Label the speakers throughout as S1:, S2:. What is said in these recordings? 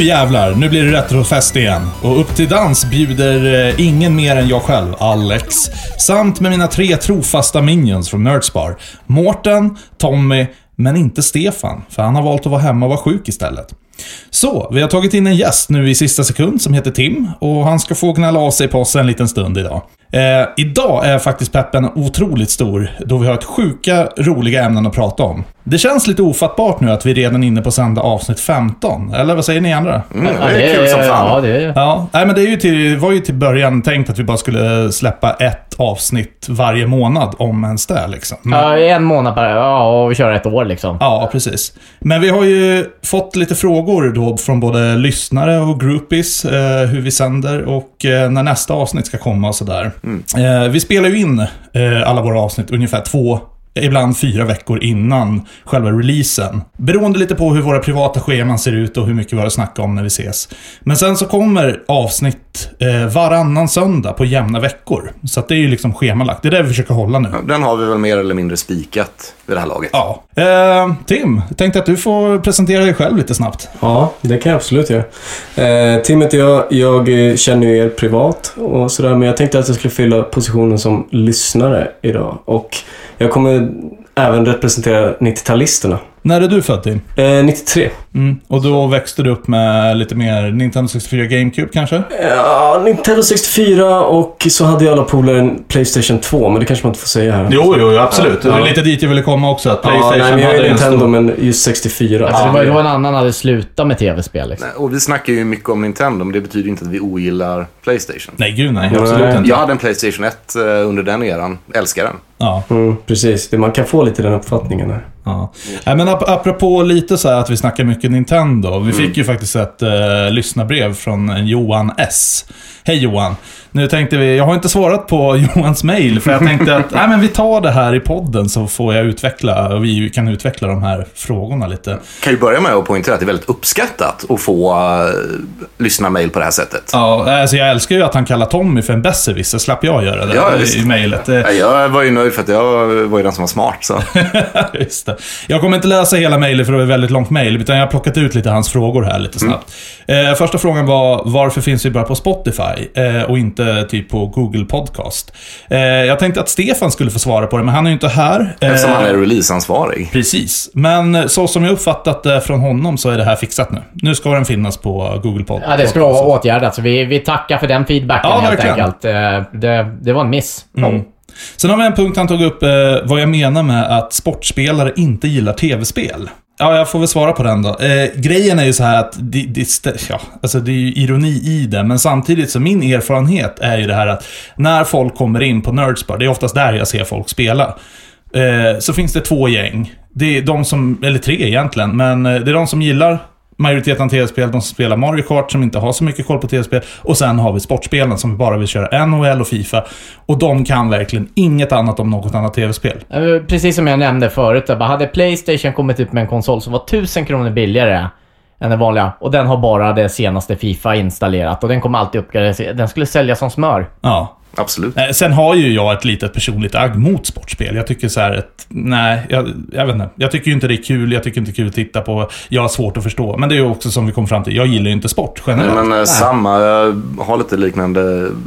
S1: jävlar, nu blir det retrofest igen. Och upp till dans bjuder eh, ingen mer än jag själv, Alex. Samt med mina tre trofasta minions från Nerdspar. Mårten, Tommy, men inte Stefan. För han har valt att vara hemma och vara sjuk istället. Så, vi har tagit in en gäst nu i sista sekund som heter Tim. Och han ska få gnälla av sig på oss en liten stund idag. Eh, idag är faktiskt peppen otroligt stor, då vi har ett sjuka, roliga ämnen att prata om. Det känns lite ofattbart nu att vi redan är inne på sända avsnitt 15, eller vad säger ni andra?
S2: Mm, det är kul som fan.
S3: Ja, det är
S1: Ja, nej, men det är ju till, var ju till början tänkt att vi bara skulle släppa ett avsnitt varje månad, om ens det. Liksom. Men,
S3: Ja, en månad per... Ja, och vi kör ett år liksom.
S1: Ja, precis. Men vi har ju fått lite frågor då från både lyssnare och groupies, eh, hur vi sänder och eh, när nästa avsnitt ska komma och sådär. Eh, vi spelar ju in eh, alla våra avsnitt ungefär två Ibland fyra veckor innan själva releasen. Beroende lite på hur våra privata scheman ser ut och hur mycket vi har att snacka om när vi ses. Men sen så kommer avsnitt eh, varannan söndag på jämna veckor. Så att det är ju liksom schemalagt. Det är det vi försöker hålla nu.
S2: Den har vi väl mer eller mindre spikat vid det här laget.
S1: Ja. Eh, Tim, jag tänkte att du får presentera dig själv lite snabbt.
S4: Ja, det kan jag absolut göra. Eh, Tim heter jag. Jag eh, känner ju er privat och sådär, men jag tänkte att jag skulle fylla positionen som lyssnare idag. Och jag kommer även representera 90-talisterna.
S1: När är du född Tim?
S4: Eh, 93.
S1: Mm. Och då växte du upp med lite mer Nintendo 64 GameCube kanske?
S4: Ja, Nintendo 64 och så hade jag alla polare en Playstation 2, men det kanske man inte får säga här.
S2: Jo, jo, absolut.
S1: Det är lite dit jag ville komma också, att
S4: ja,
S1: Playstation
S4: nej, men jag
S1: hade
S4: är
S1: en
S4: Nintendo,
S1: stor...
S4: men just 64.
S3: Alltså, det var ju då en annan hade slutat med tv-spel liksom.
S2: Och vi snackar ju mycket om Nintendo, men det betyder inte att vi ogillar Playstation.
S1: Nej, gud nej. Absolut
S4: Nej.
S1: inte.
S2: Jag hade en Playstation 1 eh, under den eran. Älskar den.
S1: Ja.
S4: Mm, precis. Det- Man kan få lite den uppfattningen här.
S1: Ja. Nej, men ap- apropå lite så här att vi snackar mycket Nintendo. Vi
S2: Mm.
S1: fick ju faktiskt ett eh, lyssnarbrev från en Johan S. Hej Johan. Nu tänkte vi, jag har inte svarat på Johans mail för jag tänkte att nej, men vi tar det här i podden så får jag utveckla och vi kan utveckla de här frågorna lite.
S2: Kan ju börja med att poängtera att det är väldigt uppskattat att få eh, lyssna mail på det här sättet.
S1: Ja, alltså jag älskar ju att han kallar Tommy för en besserwisser. slapp jag göra det
S2: Ja,
S1: i-
S2: visst.
S1: i mejlet. Eh,
S2: Ja, Jag var ju nöjd för att jag var ju den som var smart. Så.
S1: Just det. Jag kommer inte läsa hela mejlet för det var ett väldigt långt mejl, utan jag har plockat ut lite hans frågor här lite snabbt.
S2: Mm.
S1: Eh, första frågan var, varför finns vi bara på Spotify eh, och inte typ på Google Podcast? Eh, jag tänkte att Stefan skulle få svara på det, men han är ju inte här. Eh,
S2: Eftersom han är releaseansvarig.
S1: Precis, men så som jag uppfattat det från honom så är det här fixat nu. Nu ska den finnas på Google Pod- Podcast.
S3: Ja, det ska vara åtgärdat. Så vi, vi tackar för den feedbacken
S1: Ja,
S3: helt
S1: verkligen.
S3: enkelt. Eh, Det, det var en miss.
S1: Sen har vi en punkt han tog upp, eh, vad jag menar med att sportspelare inte gillar tv-spel. Ja, jag får väl svara på den då. Eh, grejen är ju så här att det, det, stä- ja, alltså det är ju ironi i det, men samtidigt så min erfarenhet är ju det här att när folk kommer in på Nerdspar, det är oftast där jag ser folk spela, eh, så finns det två gäng. Det är de som, eller tre egentligen, men eh, det är de som gillar majoriteten av tv-spel, de som spelar Mario Kart som inte har så mycket koll på tv-spel. Och sen har vi sportspelen som bara vill köra NHL och Fifa. Och de kan verkligen inget annat om något annat tv-spel.
S3: Eh, Precis som jag nämnde förut, där, bara hade Playstation kommit ut med en konsol som var 1000 kronor billigare än den vanliga och den har bara det senaste Fifa installerat och den kommer alltid uppgraderas. Den skulle säljas som smör.
S1: Ja.
S2: Absolut.
S1: Eh, Sen har ju jag ett litet personligt agg mot sportspel. Jag tycker så här att, nej, jag, jag vet inte. Jag tycker ju inte det är kul, jag tycker inte det är kul att titta på. Jag har svårt att förstå. Men det är ju också som vi kom fram till, jag gillar ju inte sport generellt.
S2: Men eh, samma, jag har lite liknande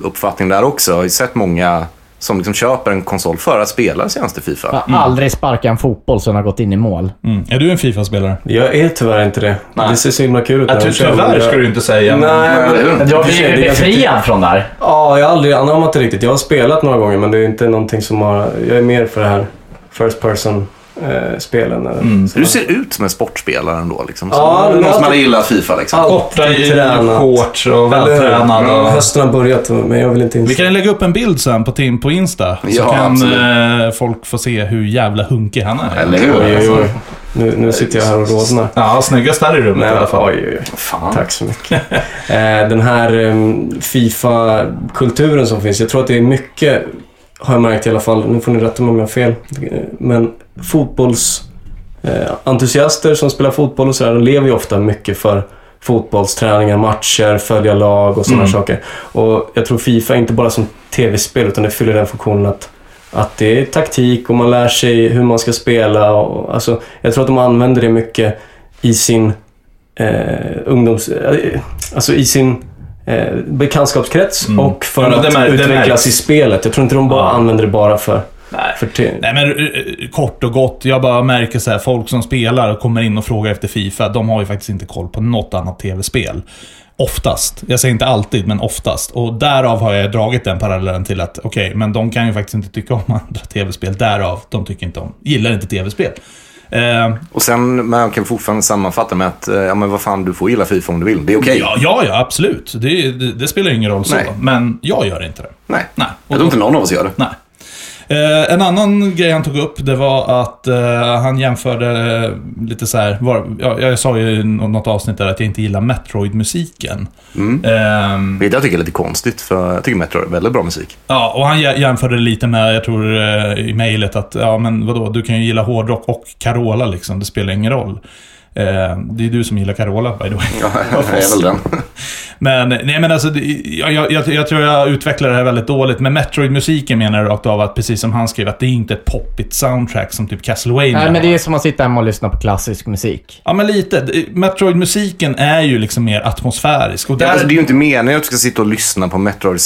S2: uppfattning där också. Jag har ju sett många som liksom köper en konsol för att spela senaste Fifa.
S3: Jag har aldrig sparkat en fotboll som har gått in i mål.
S1: Mm. Är du en Fifa-spelare?
S4: Jag är tyvärr inte det. Det ser så himla kul ut. när jag kör, men jag-
S1: du inte säga.
S4: Nej,
S2: Men,
S4: men...
S2: eller hur?
S3: Jag
S4: blir ju befriad
S3: från det här.
S4: Ja, jag har aldrig anammat det riktigt. Jag har spelat några gånger men det är inte någonting som har... Jag är mer för det här first eh, person-spelen.
S1: Mm.
S2: Du ser ut som en sportspelare ändå. Liksom.
S4: Ja,
S2: Ja,
S4: men
S2: någon som
S4: alltid-
S2: hade gillat Fifa. Liksom.
S4: Alltid
S1: Korta i
S4: tränat.
S1: shorts och vältränad. och-
S4: Hösten har börjat men jag vill inte
S1: Vi
S4: inse.
S1: kan ju lägga upp en bild sen på Tim på Insta. Så
S2: Ja,
S1: kan
S2: absolut.
S1: eh, folk få se hur jävla hunkig han är. Alltså-
S2: Eller hur? Alltså,
S4: Oj, oj, oj. Nu, nu sitter jag här och rodnar.
S1: Ja, snyggast här i rummet
S4: Nej,
S1: i alla fall.
S4: oj, oj, oj.
S2: Fan.
S4: Tack så mycket. Eh, Den här em, Fifa-kulturen som finns, jag tror att det är mycket, har jag märkt i alla fall, nu får ni rätta mig om jag har fel, eh, men fotbollsentusiaster som spelar fotboll och sådär, de lever ju ofta mycket för fotbollsträningar, matcher, följa lag och sådana
S1: Mm.
S4: saker. Och jag tror Fifa, inte bara som tv-spel, utan det fyller den funktionen att att det är taktik och man lär sig hur man ska spela. Och, alltså, jag tror att de använder det mycket i sin eh, eh, ungdoms... eh, Alltså i sin eh, bekantskapskrets
S1: Mm.
S4: och för
S1: Ja, men
S4: att
S1: det mär- det märks.
S4: utvecklas i spelet. Jag tror inte de bara
S1: Ja.
S4: använder det bara för...
S1: Nej.
S4: för te-
S1: Nej men eh, eh, kort och gott, jag bara märker så här, folk som spelar och kommer in och frågar efter Fifa, de har ju faktiskt inte koll på något annat tv-spel. Oftast. Jag säger inte alltid, men oftast. Och därav har jag dragit den parallellen till att, okej, men de kan ju faktiskt inte tycka om andra tv-spel. Därav, de tycker inte om, gillar inte tv-spel. Eh,
S2: Och sen, man kan fortfarande sammanfatta med att, eh, ja men vad fan, du får gilla Fifa om du vill. Det är okej.
S1: ja, ja, ja, absolut. Det, det, det spelar ju ingen roll så.
S2: Nej.
S1: Men jag gör inte det.
S2: Nej.
S1: Nej.
S2: Jag tror inte någon av oss gör det.
S1: Nej. Eh, en annan grej han tog upp, det var att eh, han jämförde eh, lite så här, var, ja, jag sa ju i nå- något avsnitt där att jag inte gillar Metroid-musiken.
S2: Mm.
S1: Ehm,
S2: Vilket jag tycker är lite konstigt, för jag tycker Metro är väldigt bra musik.
S1: ja, och han jä- jämförde lite med, jag tror eh, i mejlet att, ja men vadå, du kan ju gilla hårdrock och Carola liksom, det spelar ingen roll. Ehm, det är du som gillar Carola, by the way.
S2: Ja, jag är väl den.
S1: Men, nej men alltså, det- jag, jag, jag, jag tror jag utvecklar det här väldigt dåligt. Men Metroid-musiken menar jag rakt av att, precis som han skrev, att det är inte ett poppigt soundtrack som typ Castlevania
S3: Nej, men det
S1: har.
S3: är som att sitta hemma och lyssna på klassisk musik.
S1: Ja, men lite. Metroid-musiken är ju liksom mer atmosfärisk. Och där...
S2: Alltså, det är ju inte meningen att du ska sitta och lyssna på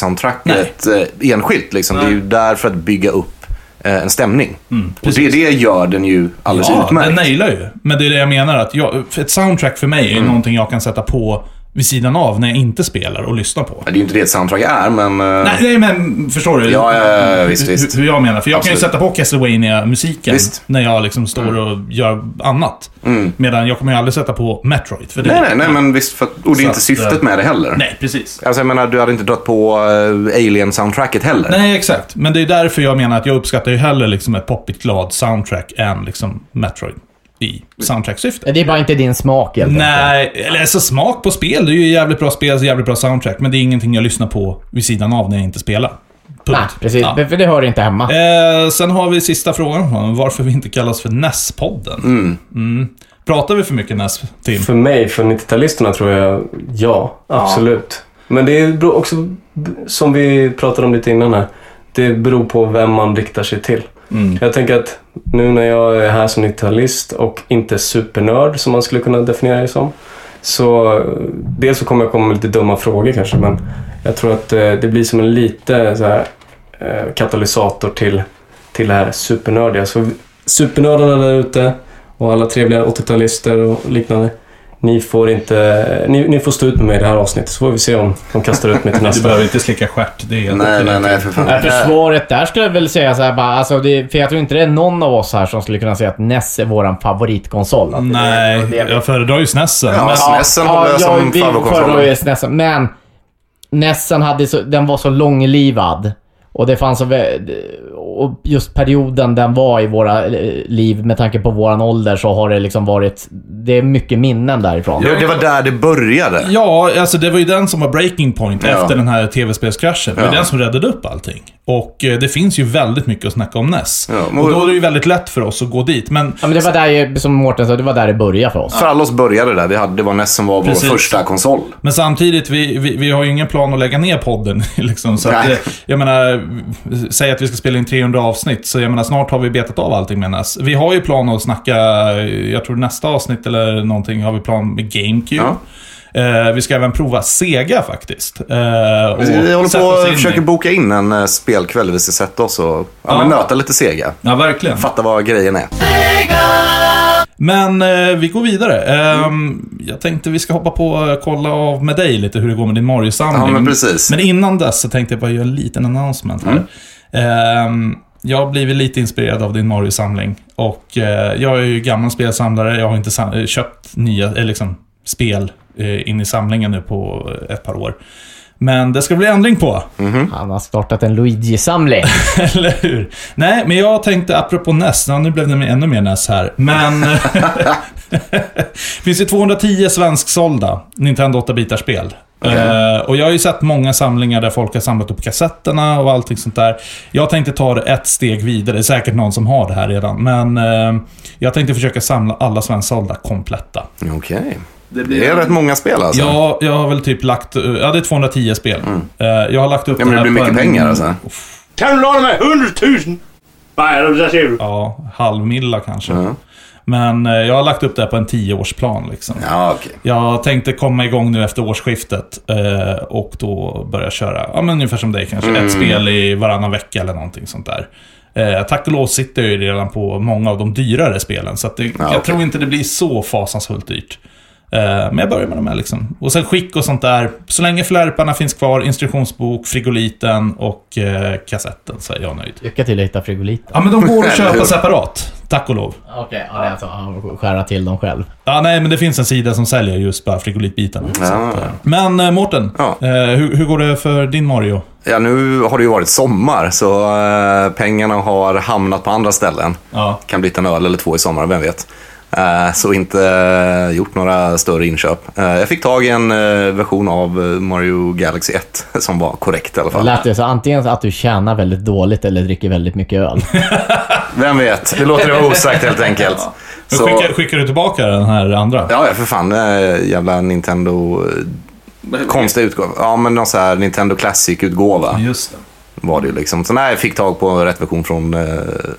S2: Metroid-soundtracket eh, enskilt. Liksom. Det är ju där för att bygga upp eh, en stämning. och det,
S1: precis.
S2: det gör den ju alldeles
S1: ja,
S2: utmärkt.
S1: den nailar ju. Men det är det jag menar. Att jag, för ett soundtrack för mig är mm. någonting jag kan sätta på vid sidan av när jag inte spelar och lyssnar på.
S2: Det är ju inte det ett soundtrack är, men... eh,
S1: Nej, nej, men förstår du?
S2: Ja, ja, ja, ja, visst,
S1: Hur-
S2: visst.
S1: Hur, hur jag menar. För jag kan ju
S2: Absolut.
S1: sätta på Castlevania-musiken
S2: Visst. Mm.
S1: när jag liksom står och gör annat. Medan jag kommer ju aldrig sätta på Metroid. För det...
S2: Nej, nej, nej, men visst. För, att- och det är
S1: Så
S2: inte
S1: att,
S2: syftet
S1: eh,
S2: med det heller.
S1: Nej, precis.
S2: Alltså, jag menar, du hade inte dragit på eh, Alien-soundtracket heller.
S1: Nej, exakt. Men det är därför jag menar att jag uppskattar ju hellre liksom ett poppigt glad soundtrack än liksom Metroid i soundtracksyfte.
S3: Det är bara inte din smak
S2: Mm.
S3: helt enkelt.
S1: Nej, eller alltså smak på spel. Det är ju jävligt bra spel, så jävligt bra soundtrack. Men det är ingenting jag lyssnar på vid sidan av när jag inte spelar. Punkt.
S3: Nej, precis.
S1: Ja.
S3: För det hör inte hemma.
S1: Eh, sen har vi sista frågan. Varför vi inte kallas för NES-podden? Mm. Pratar vi för mycket NES, Tim?
S4: För mig, för 90-talisterna tror jag, ja. Absolut. Men det beror också, som vi pratade om lite innan här, det beror på vem man riktar sig till.
S1: Mm.
S4: Jag tänker att nu när jag är här som 90-talist och inte supernörd som man skulle kunna definiera det som. Så eh, dels så kommer jag komma med lite dumma frågor kanske men jag tror att eh, det blir som en lite så här, eh, katalysator till, till det här supernördiga. Så supernördarna där ute och alla trevliga 80-talister och liknande. Ni får, inte, eh, ni, ni får stå ut med mig i det här avsnittet så får vi se om de kastar ut mig till
S1: Du
S4: nästa.
S1: behöver inte slicka stjärt. Det är helt
S2: nej,
S1: okej.
S2: nej, nej, för fan.
S3: Nej, försvaret där skulle jag väl säga så här bara, alltså det, för jag tror inte det är någon av oss här som skulle kunna säga att NES är våran favoritkonsol. Att det är-
S1: Nej,
S3: det är-
S1: jag fördrar ju SNESen.
S2: Ja,
S1: men-
S2: alltså, Nessen håller jag som
S3: vi
S2: favoritkonsol.
S3: föredrar ju Nessen, Men Nessen hade så, den var så långlivad. Och det fanns så, vä- och just perioden den var i våra eh, liv med tanke på våran ålder så har det liksom varit, det är mycket minnen därifrån.
S2: Det, det var där det började.
S1: Ja, alltså det var ju den som var breaking point
S2: Ja.
S1: efter den här tv-spelskraschen. Det var
S2: Ja.
S1: den som räddade upp allting. Och eh, det finns ju väldigt mycket att snacka om NES.
S2: Ja, men-
S1: och då är det ju väldigt lätt för oss att gå dit. Men
S3: Ja, men det var där, ju- som Mårten sa, det var där det började för oss.
S2: För alla oss började där. Vi hade, det var NES som var
S1: Precis.
S2: vår första konsol.
S1: Men samtidigt, vi, vi, vi har ju ingen plan att lägga ner podden. Liksom, så att,
S2: Nej.
S1: eh, jag menar, säg att vi ska spela in 300 avsnitt, så jag menar, snart har vi betat av allting med NES. Vi har ju plan att snacka, eh, jag tror nästa avsnitt eller någonting har vi plan med GameCube.
S2: Ja.
S1: Eh, vi ska även prova Sega faktiskt. Eh, och
S2: Vi håller
S1: sätta
S2: på
S1: oss in
S2: och
S1: i-
S2: försöker boka in en eh, spelkväll där vi ska sätta oss och ja, Men nöta lite Sega.
S1: Ja, verkligen.
S2: Fatta vad grejen är.
S1: Men eh, vi går vidare. Ehm,
S2: Mm.
S1: Jag tänkte vi ska hoppa på och kolla av med dig lite hur det går med din Mario-samling.
S2: Ja, men precis.
S1: Men innan dess så tänkte jag bara göra en liten announcement här. Ehm, jag har blivit lite inspirerad av din Mario-samling. Och eh, jag är ju gammal spelsamlare. Jag har inte sam- eh, köpt nya eh, liksom, spel eh, in i samlingen nu på eh, ett par år. Men det ska bli ändring på.
S3: Han har startat en Luigi-samling.
S1: Eller hur? Nej, men jag tänkte apropå NES, ja, nu blev det ännu mer NES här, men... finns ju 210 svensksålda Nintendo 8-bitarspel. Eh, och jag har ju sett många samlingar där folk har samlat upp kassetterna och allting sånt där. Jag tänkte ta det ett steg vidare, det är säkert någon som har det här redan, men eh, jag tänkte försöka samla alla svensksålda kompletta.
S2: Okej. Det är rätt många spel alltså.
S1: Ja, jag har väl typ lagt, eh, ja det är 210 spel. Eh, jag har lagt upp
S2: Mm. Ja, men det
S1: här på
S2: blir mycket
S1: en-
S2: pengar alltså.
S5: Kan du låna mig 100 000? Vad är det du säger?
S1: Ja, halvmilla kanske. Men eh, jag har lagt upp det här på en tioårsplan liksom.
S2: Ja, okej.
S1: Jag tänkte komma igång nu efter årsskiftet eh, och då börja köra, ja men ungefär som dig kanske,
S2: Mm.
S1: ett spel i varannan vecka eller någonting sånt där. Eh, tack och lov sitter jag ju redan på många av de dyrare spelen, så att det, jag
S2: okej.
S1: tror inte det blir så fasansfullt dyrt. Eh, men jag börjar med de här liksom. Och sen skick och sånt där. Så länge flärparna finns kvar, instruktionsbok, frigoliten och eh, kassetten så är jag nöjd.
S3: Lycka till att hitta frigoliten.
S1: Ja men de går att
S2: Eller hur?
S1: köpa separat, tack och lov.
S3: Okej, ja, det är alltså ja, skära till dem själv.
S1: Ja, nej, men det finns en sida som säljer just bara frigolitbitarna. Så
S2: Ja.
S1: att, eh, Men eh, Mårten,
S2: Ja.
S1: eh, hur, hur går det för din Mario?
S2: Ja, nu har det ju varit sommar, så eh, pengarna har hamnat på andra ställen.
S1: Ja.
S2: kan bli en öl eller två i sommar, vem vet. Eh, Så inte eh, gjort några större inköp. Eh, Jag fick tag i en eh, version av eh, Mario Galaxy 1 som var korrekt i alla
S3: Det
S2: fall.
S3: lät det så antingen att du tjänar väldigt dåligt eller dricker väldigt mycket
S1: Mm.
S3: öl.
S2: Vem vet, vi låter det vara osagt helt enkelt.
S1: Men
S2: Så,
S1: Skickar, skickar du tillbaka den här andra?
S2: ja, ja, för fan. eh, Jävla Nintendo... eh, Konstiga utgåva. Ja, men någon så här Nintendo Classic-utgåva
S1: Just det.
S2: var det ju liksom. Så nej, jag fick tag på rätt version från, eh,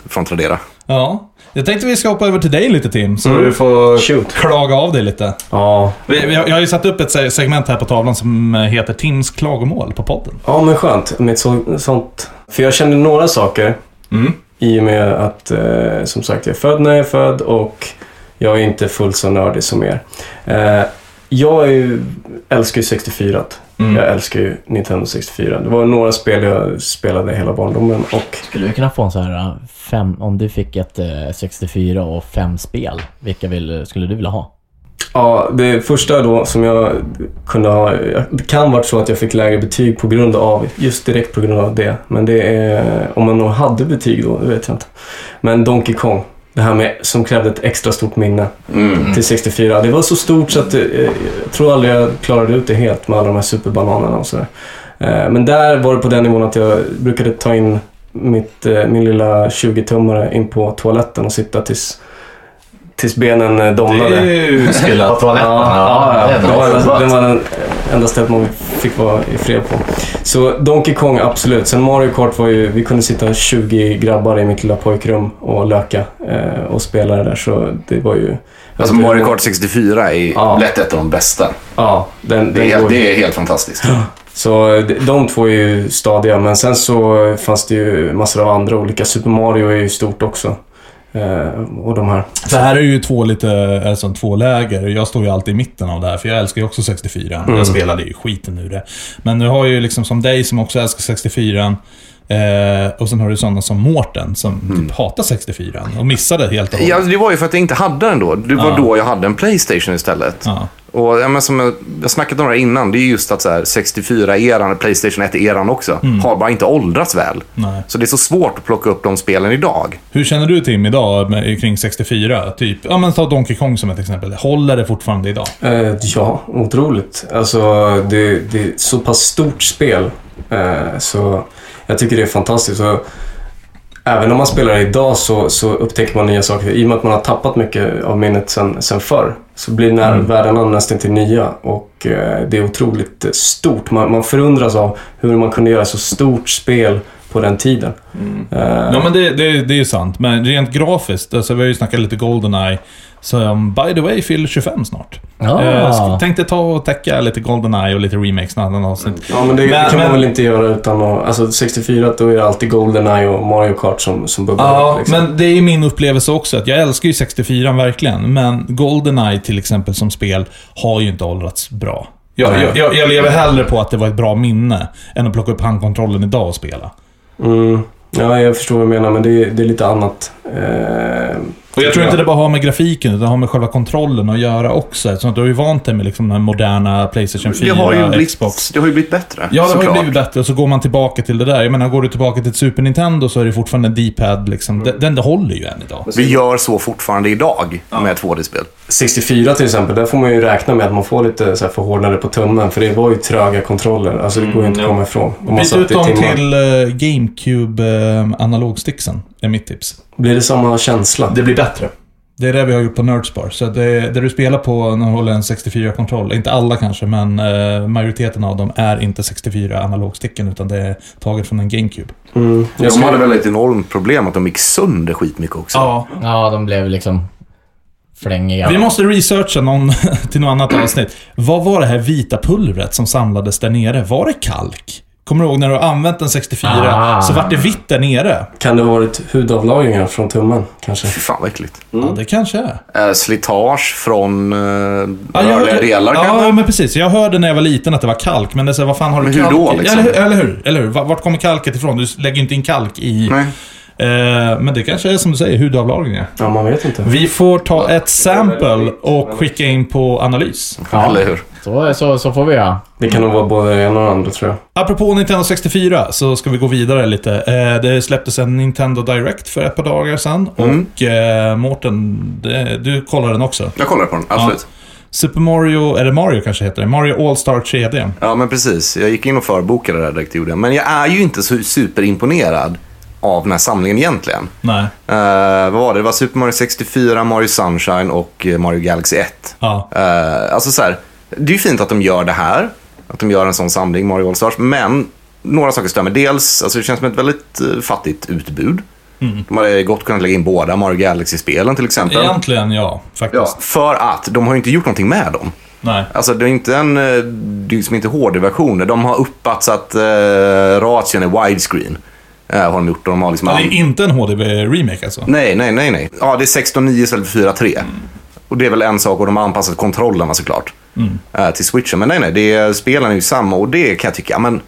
S2: från Tradera.
S1: Ja. Jag tänkte vi ska hoppa över till dig lite Tim,
S2: Mm,
S1: så du får
S4: Shoot.
S1: klaga av dig lite.
S4: Ja.
S1: Vi, vi, har- jag har ju satt upp ett se- segment här på tavlan som eh, heter Tims klagomål på podden.
S4: Ja, men skönt med ett så, sånt. För jag kände några saker
S2: Mm.
S4: i och med att, eh, som sagt, jag är född när jag är född och jag är inte fullt så nördig som er. Eh, jag är ju, älskar ju 64
S2: Mm.
S1: Mm.
S4: Jag älskar ju Nintendo 64. Det var några spel jag spelade hela barndomen och
S3: Skulle du kunna få en så här äh, fem, om du fick ett eh, 64 och fem spel, vilka vill, skulle du vilja ha?
S4: Ja, det första då som jag kunde ha... Det kan varit så att jag fick lägre betyg på grund av, just direkt på grund av det. Men det är, om man nog hade betyg då, det vet jag inte. Men Donkey Kong, det här med, som krävde ett extra stort minne till 64. Det var så stort så att eh, jag tror aldrig jag klarade ut det helt med alla de här superbananerna och sådär. Eh, Men där var det på den nivån att jag brukade ta in mitt, eh, min lilla 20-tummare in på toaletten och sitta tills, tills benen eh, domnade.
S1: ju
S3: På toaletten?
S4: Ja, ja,
S3: det
S4: ja. Det
S3: är
S4: var
S3: nice.
S4: enda- det var den enda stället man fick vara i fred på. Så Donkey Kong, absolut. Sen Mario Kart var ju... Vi kunde sitta 20 grabbar i mitt lilla pojkrum och löka eh, och spela det där. Så det var ju...
S5: Alltså Mario Kart 64 är
S4: Ja.
S5: lätt ett av de bästa.
S4: Ja, den,
S5: Det
S4: den
S5: är,
S4: går ju.
S5: det är helt fantastiskt.
S4: Så eh, de två är ju stadiga. Men sen så fanns det ju massor av andra olika. Super Mario är ju stort också. Eh, och de här.
S1: Det här är ju två lite, alltså två läger. Jag står ju alltid i mitten av det här, för jag älskar ju också 64. Jag spelade ju skiten ur det. Men du har ju liksom som dig som också älskar 64. Eh, och sen har du sådana som Mårten som typ hatar 64 och missade helt och
S2: Ja,
S1: hållet.
S2: det var ju för att jag inte hade den då. Det var
S1: Ja.
S2: då jag hade en Playstation istället.
S1: Ja.
S2: Och ja, men som jag, jag snackat om det här innan, det är just att så här, 64-eran, Playstation 1-eran också,
S1: Mm.
S2: har bara inte åldrats väl.
S1: Nej.
S2: Så det är så svårt att plocka upp de spelen idag.
S1: Hur känner du Tim idag med, kring 64? Typ, ja men ta Donkey Kong som ett exempel. Håller det fortfarande idag?
S4: Eh, ja, otroligt. Alltså, det, det är ett så pass stort spel. Eh, så jag tycker det är fantastiskt. Så, även om man spelar idag så, så upptäcker man nya saker. I och med att man har tappat mycket av minnet sen, sen förr så blir närvärdena nästan till nya. Och eh, det är otroligt stort. Man, man förundras av hur man kunde göra så stort spel på den tiden. Eh,
S1: Ja, men det, det, det är ju sant. Men rent grafiskt, alltså, vi har ju snackat lite Goldeneye. Som, by the way, fyller 25 snart.
S3: Ah.
S1: Eh, sk- tänkte ta och täcka lite Goldeneye och lite remakes någon annan avsnitt.
S4: Ja, men det,
S1: Men-
S4: det kan
S1: men-
S4: man väl inte göra utan att... Alltså 64, då är det alltid Goldeneye och Mario Kart som, som bubblar
S1: Ja,
S4: upp, liksom.
S1: men det är ju min upplevelse också. Att jag älskar ju 64 verkligen, men Goldeneye till exempel som spel har ju inte åldrats bra. Jag,
S4: Nej.
S1: jag, jag, jag lever hellre på att det var ett bra minne än att plocka upp handkontrollen idag och spela.
S4: Mm. Ja, jag förstår vad du menar, men det är, det är lite annat. Eh,
S1: Och jag tror inte det bara har med grafiken, utan det har med själva kontrollen att göra också. Eftersom att du har ju vant dig med liksom den moderna Playstation 4,
S2: det, har ju blivit,
S1: Xbox.
S2: det har ju blivit bättre.
S1: Ja, det har ju
S2: såklart.
S1: blivit bättre och så går man tillbaka till det där. Jag menar, går du tillbaka till ett Super Nintendo så är det fortfarande en D-pad liksom. Den, den håller ju än idag.
S2: Vi gör så fortfarande idag med 2D-spel.
S4: 64 till exempel, där får man ju räkna med att man får lite så här förhårdnade på tummen, för det var ju tröga kontroller. Alltså det går ju inte att komma ifrån. Om man satt
S1: Mm, Byt
S4: i
S1: ut dem
S4: timmar.
S1: till eh, GameCube-analogsticksen, är mitt tips.
S4: Blir det samma känsla?
S1: blir bättre. Det är det vi har gjort på Nerdspar. Så det, det du spelar på när du håller en 64-kontroll, inte alla kanske, men eh, majoriteten av dem är inte 64 analogsticken, utan det är taget från en GameCube.
S4: Mm. Jag
S2: De
S4: skulle-
S2: hade väl ett enormt problem att de gick sönder skitmycket också.
S1: Ja,
S3: Ja, de blev liksom flängiga.
S1: Vi måste researcha någon till något annat avsnitt. Vad var det här vita pulvret som samlades där nere? Var det kalk? Kommer du ihåg när du har använt en 64
S3: Ah.
S1: så vart det vitt där nere?
S2: Mm.
S4: Kan det ha varit hudavlagringar från tummen kanske?
S2: Fy fan vad äckligt.
S1: Ja, det kanske är.
S2: Eh, slitage från eh,
S1: Ja,
S2: rörliga
S1: jag-
S2: delar
S1: Ja,
S2: kanske?
S1: men precis. Jag hörde när jag var liten att det var kalk, men det är så, här, vad fan har du
S2: Men hur då,
S1: i?
S2: liksom?
S1: Eller, hur- eller hur? Eller hur? Va- Vart kommer kalket ifrån? Du lägger ju inte in kalk i...
S2: Nej.
S1: Eh, men det kanske är som du säger, hudavlagringar.
S4: Ja, man vet inte.
S1: Vi får ta ett sample och skicka in på analys.
S3: Ja.
S2: Eller hur?
S3: Så, så, så får vi göra.
S4: Det kan nog vara både det ena och det andra tror jag.
S1: Apropå Nintendo 64 så ska vi gå vidare lite. Eh, Det släpptes en Nintendo Direct för ett par dagar sedan. Och eh, Mårten, det- du kollar den också.
S2: Jag kollar på den, absolut.
S1: Super Mario, eller Mario kanske heter det? Mario All-Star 3D.
S2: Ja. men precis. Jag gick in och förbokade det här direkt, gjorde jag. Men jag är ju inte så superimponerad av den här samlingen egentligen.
S1: Nej.
S2: Eh, vad var det? Det var Super Mario 64, Mario Sunshine och eh, Mario Galaxy 1.
S1: Ja.
S2: Eh, alltså så här, det är ju fint att de gör det här. Att de gör en sån samling, Mario All-Stars. Men några saker stämmer. Dels, alltså det känns som ett väldigt eh, fattigt utbud. De hade gott kunnat lägga in båda Mario Galaxy-spelen till exempel.
S1: Egentligen ja,
S2: Ja,
S1: faktiskt.
S2: för att de har ju inte gjort någonting med dem.
S1: Nej.
S2: Alltså det är inte en, eh, det är liksom inte HD-versioner. De har uppat så att eh, ration är widescreen. Eh, har de gjort och de har liksom...
S1: Det är inte en HDB-remake alltså?
S2: Nej, nej, nej, nej. Ja, det är 16.9 istället för 4.3. Och det är väl en sak och de har anpassat kontrollerna såklart.
S1: Mm.
S2: eh, Till switchen. Men nej, nej, det är, spelen är ju samma och det kan jag tycka, ja, men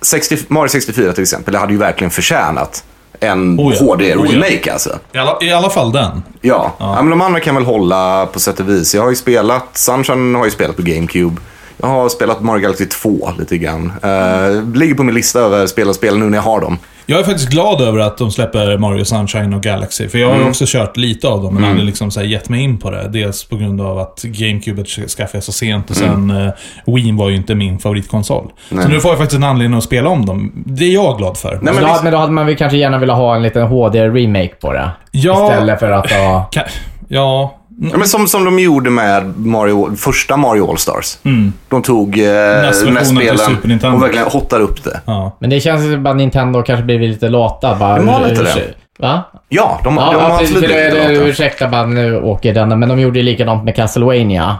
S2: 60, Mario 64 till exempel, det hade ju verkligen förtjänat en
S1: Oh ja.
S2: HD-remake
S1: Oh
S2: alltså.
S1: I alla, I alla fall den.
S2: Ja. ja, men de andra kan väl hålla på sätt och vis. Jag har ju spelat, Sunshine har ju spelat på GameCube. Jag har spelat Mario Galaxy 2 lite grann. Eh, ligger på min lista över spel och spel nu när jag har dem.
S1: Jag är faktiskt glad över att de släpper Mario Sunshine och Galaxy. För jag har ju också kört lite av dem, men aldrig liksom så här gett mig in på det. Dels på grund av att GameCube skaffade jag så sent och sen eh, Wii var ju inte min favoritkonsol. Så nu får jag faktiskt en anledning att spela om dem. Det är jag glad för. Alltså,
S3: Men
S2: Nej, men
S3: då,
S2: visst,
S3: men då hade man väl kanske gärna velat ha en liten HD-remake på det.
S1: Ja.
S3: Istället för att ha...
S1: Ka- ja...
S2: ja, men som, som de gjorde med Mario, första Mario All-Stars.
S1: Mm.
S2: De tog eh,
S1: NES-versionen till Super
S2: NES-spelen
S1: Nintendo.
S2: och verkligen hottade upp det.
S1: ja.
S3: Men det känns som att Nintendo kanske blivit lite lata. Bara,
S2: De har lite
S3: urs-
S2: det.
S3: Va?
S2: Ja, de,
S3: Ja,
S2: de har
S3: ja precis.
S2: absolut
S3: För det, det,
S2: blivit
S3: ursäkta bara, nu åker den. Men de gjorde ju likadant med Castlevania.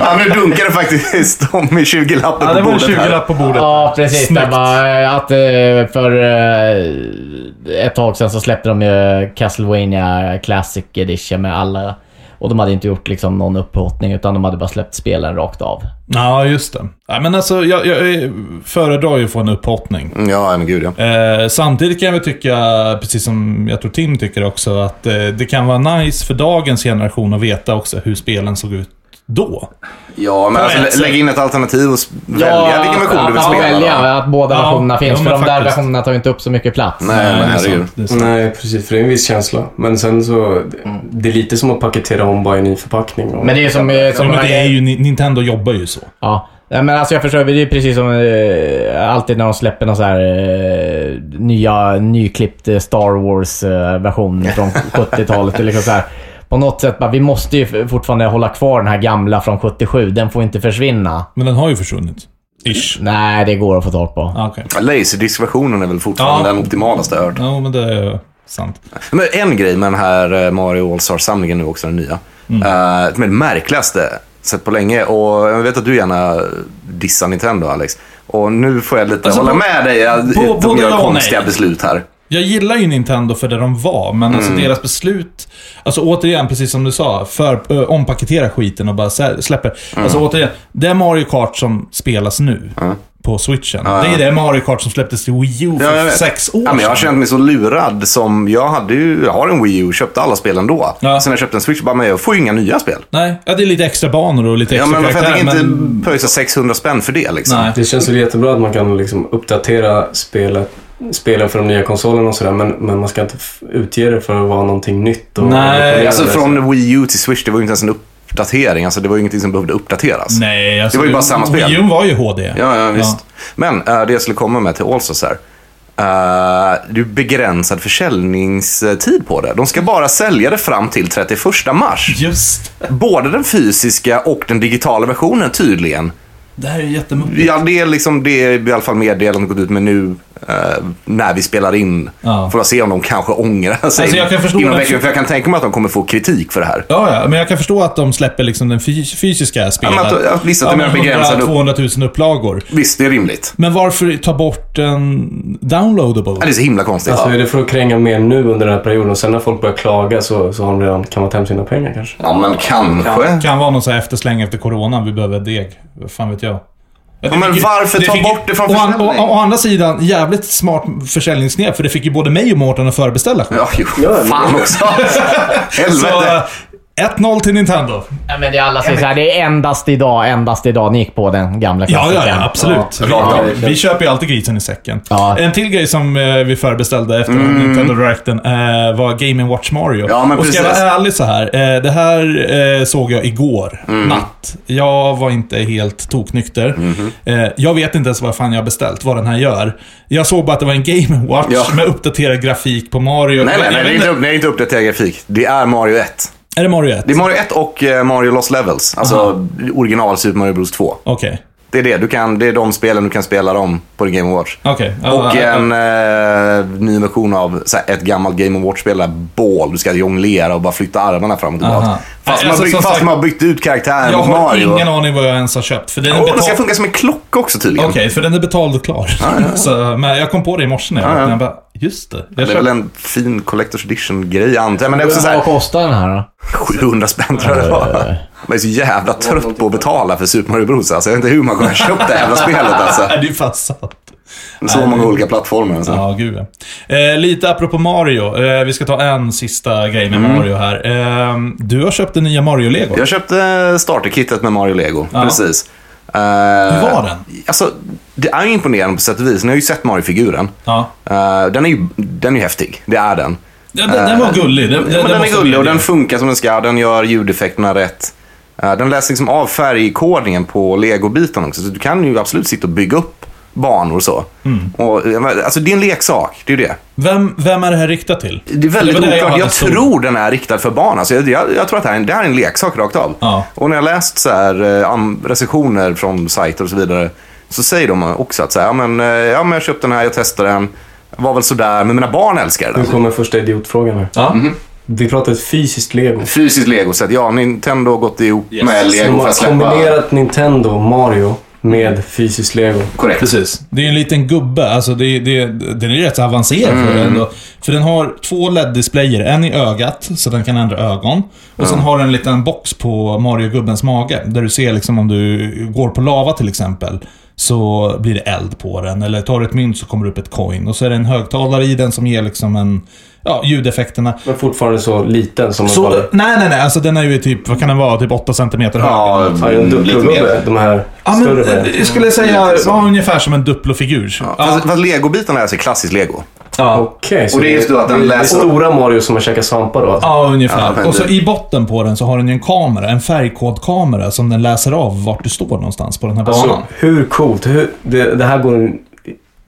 S2: Ja, nu dunkade faktiskt de med 20-lappen
S1: ja, det
S2: på
S1: var en
S2: bordet här.
S1: 20-lapp på bordet.
S3: Ja, precis.
S1: Snyggt.
S3: Det var eh, att eh, för eh, ett tag sedan så släppte de ju Castlevania Classic Edition med alla. Och de hade inte gjort liksom någon upphottning utan de hade bara släppt spelen rakt av.
S1: Ja, just det. Ja, men alltså, jag, jag eh, föredrar ju att få en upphottning.
S2: Mm, Ja, men gud ja.
S1: Eh, samtidigt kan jag väl tycka, precis som jag tror Tim tycker också, att eh, det kan vara nice för dagens generation att veta också hur spelen såg ut då.
S2: Ja, men alltså,
S1: Men,
S2: lä-
S1: så-
S2: lägg in ett alternativ och s- välja vilken version
S3: att,
S2: du vill
S3: att,
S2: spela.
S3: välja,
S2: då.
S3: att båda
S1: Ja,
S3: versionerna
S1: ja,
S3: finns. för
S1: men
S3: de där
S1: faktiskt.
S3: versionerna tar ju inte upp så mycket plats.
S2: Nej, men
S1: Eh, det är
S2: herregud.
S1: sant,
S2: Mm.
S1: det Mm. är sant.
S4: Nej, precis. För det är en viss känsla. Men sen så... Det är lite som att paketera om bara i en ny förpackning. va?
S3: Men det är ju som... eh,
S1: Ja,
S3: som
S1: men det är ju, Nintendo jobbar ju så.
S3: Ja. Nej, men alltså jag förstår, det är ju precis som eh, alltid när de släpper någon så här eh, nya, nyklippt eh, Star Wars-version från 70-talet. Det är liksom så här, på något sätt bara, vi måste ju f- fortfarande hålla kvar den här gamla från 77. Den får inte försvinna.
S1: Men den har ju försvunnit. Ish.
S3: Nej, det går att få tag på.
S1: Ah, Okej.
S2: Ja, Laserdisk-versionen är väl fortfarande
S1: Ja.
S2: den optimalaste jag har hört.
S1: Ja, men det är sant.
S2: Men en grej med den här eh, Mario All-Star-samlingen nu också, den nya. Mm. Uh, med det märkligaste sett på länge. Och jag vet att du gärna dissar Nintendo, Alex. Och nu får jag lite
S1: Alltså,
S2: hålla
S1: på-
S2: med dig. att
S1: på-
S2: att de
S1: både ja
S2: gör
S1: och
S2: konstiga
S1: nej.
S2: beslut här.
S1: Jag gillar ju Nintendo för det de var, men alltså
S2: Mm.
S1: deras beslut... Alltså återigen, precis som du sa, för, ö, ompaketera skiten och bara sä- släpper.
S2: Mm.
S1: Alltså återigen, det är Mario Kart som spelas nu. På switchen. Det är det Mario Kart som släpptes till Wii U för
S2: Ja, jag vet.
S1: sex år
S2: Ja, men jag har
S1: sedan.
S2: känt mig så lurad som... Jag, hade ju, jag har en Wii U och köpte alla spel ändå.
S1: Ja.
S2: Sen när jag köpte en Switch bara, men jag får ju inga nya spel.
S1: Nej, ja, det är lite extra banor och lite
S2: Ja,
S1: extra
S2: men varför jag
S1: karaktär,
S2: tänker inte
S1: men...
S2: pröjsa 600 spänn för det liksom?
S1: Nej.
S4: Det känns väl jättebra att man kan liksom uppdatera spelet, spelen för de nya konsolerna och sådär. Men, men man ska inte f- utge det för att vara någonting nytt. Och
S1: Nej,
S4: revolutionerande.
S2: Alltså från Wii U till Switch, det var ju inte ens en uppdatering. Alltså, det var ju ingenting som behövde uppdateras.
S1: Nej, alltså,
S2: Det var ju bara samma spel.
S1: Wii U var ju HD.
S2: Ja, ja, visst. Men eh, det jag skulle komma med till Allstars här. eh, det är begränsad försäljningstid på det. De ska bara sälja det fram till 31 mars.
S1: Just.
S2: Både den fysiska och den digitala versionen tydligen.
S1: Det här är ju jättemuppigt.
S2: Ja, det är liksom det är i alla fall meddelandet gått ut med nu. eh, när vi spelar in.
S1: Ja.
S2: Får jag se om de kanske ångrar sig
S1: Alltså, jag kan förstå
S2: inom
S1: den-
S2: veckan. För jag kan tänka mig att de kommer få kritik för det här.
S1: Ja, ja, men jag kan förstå att de släpper liksom den fys- fysiska spelet.
S2: men att- att vissa till
S1: men
S2: och med
S1: 100
S2: begränsade upp-
S1: 200 000 upplagor.
S2: Visst, det är rimligt.
S1: Men varför ta bort en downloadable?
S2: Ja, det är så himla konstigt.
S4: Alltså är det för att kränga mer nu under den här perioden och sen när folk börjar klaga så, så har de redan kammat hem sina pengar kanske?
S5: Ja, men kanske.
S1: Det kan vara någon så här eftersläng efter coronan, vi behöver deg. Vad fan vet jag. Ja,
S2: men varför ta bort det från
S1: å, an- å,
S2: försäljning?
S1: å, å andra sidan, jävligt smart försäljningsknep, för det fick ju både mig och Mårten att förbeställa skit.
S2: Ja, jo. Fan också.
S1: så,
S2: Helvete.
S1: eh, 1-0 till Nintendo.
S3: Ja, men det är alla säger såhär, det är endast idag, endast idag. Ni gick på den gamla
S1: Ja,
S3: klassikern.
S1: ja, ja absolut.
S2: rakt
S1: vi, vi köper ju alltid grisen i säcken.
S3: Ja.
S1: En till grej som eh, vi förbeställde efter Nintendo Directen eh, var Game Watch Mario.
S2: Mm. Ja, men
S1: och ska jag
S2: precis.
S1: vara ärlig så här. Eh, det här eh, såg jag igår
S2: Mm.
S1: natt. Jag var inte helt toknykter.
S2: Mhm.
S1: Eh, jag vet inte ens vad fan jag har beställt, vad den här gör. Jag såg bara att det var en Game Watch
S2: Ja.
S1: med uppdaterad grafik på Mario.
S2: Nej, nej,
S1: Jag
S2: nej. Det
S1: vet inte-
S2: är inte, upp- det är inte uppdaterad grafik. Det är Mario 1.
S1: Är det Mario 1?
S2: Det är Mario 1 och eh, Mario Lost Levels. Alltså original Super Mario Bros 2.
S1: Okej.
S2: Det är det. Du kan, det är de spelen du kan spela dem på din Game Watch.
S1: Okej. Ja,
S2: Och
S1: ja, ja.
S2: en eh, ny version av så här, ett gammalt Game Watch-spel där bål, du ska jonglera och bara flytta armarna fram och
S1: Aha.
S2: tillbaka. Fast,
S1: Nej,
S2: man,
S1: alltså,
S2: har byggt,
S1: som
S2: fast
S1: sagt-
S2: man har byggt ut karaktären
S1: Jag
S2: mot
S1: har
S2: eh, Mario.
S1: ingen aning vad jag ens har köpt. För det är en
S2: Åh, den ska
S1: betal-
S2: funka som en klocka också tydligen.
S1: Okej, för den är betald och klar. Så, men jag kom på det i morse när jag
S2: Ja, ja.
S1: vaknade. Jag bara, just det. Jag
S2: Det är
S1: köpte-
S2: väl en fin Collector's Edition-grej antar jag. Men det är också så
S3: Vad
S2: här,
S3: kostar den här då?
S2: 700 spänn tror jag det var. Man är så jävla trött på att betala för Super Mario Bros. Alltså, jag vet inte hur man kommer köpa det jävla spelet alltså.
S1: Nej, det är fan sant.
S2: Så många olika plattformar. Alltså.
S1: Ja, gud ja. eh, Lite apropå Mario. Eh, vi ska ta en sista grej med Mario här. Eh, du har köpt den nya Mario-lego.
S2: Mm. Jag köpte starterkittet med Mario Lego,
S1: Ja.
S2: precis. Hur
S1: Hur var den?
S2: Alltså, det är ju imponerande på sätt och vis. Ni har ju sett Mario-figuren.
S1: Ja.
S2: Eh, den, är ju, den är ju häftig, det är den.
S1: Den, den, den var gullig. Den,
S2: Eh, Ja, men den är
S1: måste
S2: gullig
S1: jag
S2: och
S1: medge.
S2: den funkar som den ska. Den gör ljudeffekterna rätt. Eh, Den läser liksom av färgkodningen på legobiten också. Så du kan ju absolut sitta och bygga upp banor och så.
S1: Mm.
S2: Och, eh, men, alltså det är en leksak, det är ju det.
S1: Vem, vem är det här riktat till?
S2: Det är väldigt
S1: var där jag
S2: oklart.
S1: hade
S2: Jag,
S1: stor-
S2: tror den är riktad för barn. Alltså jag, jag, jag tror att det här, är en- det här är en leksak rakt av.
S1: Ja.
S2: Och när jag läst så här, eh, am- recensioner från sajter och så vidare så säger de också att så här, ja, men, eh, ja, men jag köpte den här, jag testade den. Var väl sådär, men mina barn älskar den.
S5: Alltså-
S4: Nu kommer första idiotfrågan här.
S1: Ja.
S2: Mm.
S4: Vi pratar ett fysiskt lego.
S2: Fysiskt lego, så att ja, Nintendo har gått ihop
S1: Yes.
S5: Med
S4: De
S5: lego för att
S4: har
S5: släppa.
S4: kombinerat Nintendo och Mario med fysiskt lego.
S5: Korrekt.
S1: Precis. Det är en liten gubbe. Alltså det, det, den är ju rätt så avancerad för den ändå. För den har två LED-displayer. En i ögat, så den kan ändra ögon. Och sen har den en liten box på Mario-gubbens mage. Där du ser liksom om du går på lava till exempel. Så blir det eld på den. Eller tar du ett mynt så kommer det upp ett coin. Och så är det en högtalare i den som ger liksom en... Ja, ljudeffekterna.
S4: Men fortfarande så liten som man
S1: Så,
S4: bara...
S1: nej, nej, nej. Alltså den är ju typ, vad kan den vara? Typ 8 cm hög.
S5: Ja,
S4: Ja, en
S5: lite mer.
S4: dubbelgubbe. De här
S1: Ja, men,
S4: större
S1: eh,
S4: varianterna.
S1: jag skulle säga ja, ungefär som en Duplo-figur.
S2: Ja. Fast, fast legobiten är sig klassiskt lego.
S1: Ja.
S4: Okej, så
S5: Och det är just då att den
S4: det är
S5: läser-
S4: stora Mario som har käkat svampar då? alltså.
S1: Ja,
S2: Ja,
S1: ungefär.
S2: men
S1: och så
S2: det-
S1: i botten på den så har den ju en kamera, en färgkodkamera, som den läser av vart du står någonstans på den här banan.
S4: Alltså, hur coolt? Hur, det, det här går...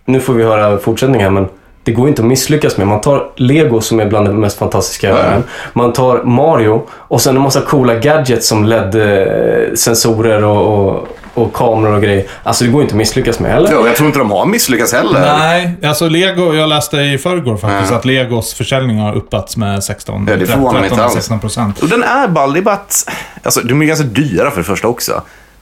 S4: Nu får vi höra fortsättningen här, men det går inte att misslyckas med. Man tar Lego som är bland det mest fantastiska jag mm. Man tar Mario och sen en massa coola gadgets som LED-sensorer och, och, och kameror och grejer. Alltså det går inte att misslyckas med heller.
S2: Ja, och jag tror inte de har misslyckats heller.
S1: Nej, alltså Lego, jag läste i förrgår faktiskt att Legos försäljning har uppats med 16,
S2: Ja, det förvånar mig inte
S1: 13,
S2: alls.
S1: 16 procent.
S2: Och den är ball, det är bara att... Alltså, de är ganska dyra för det första också.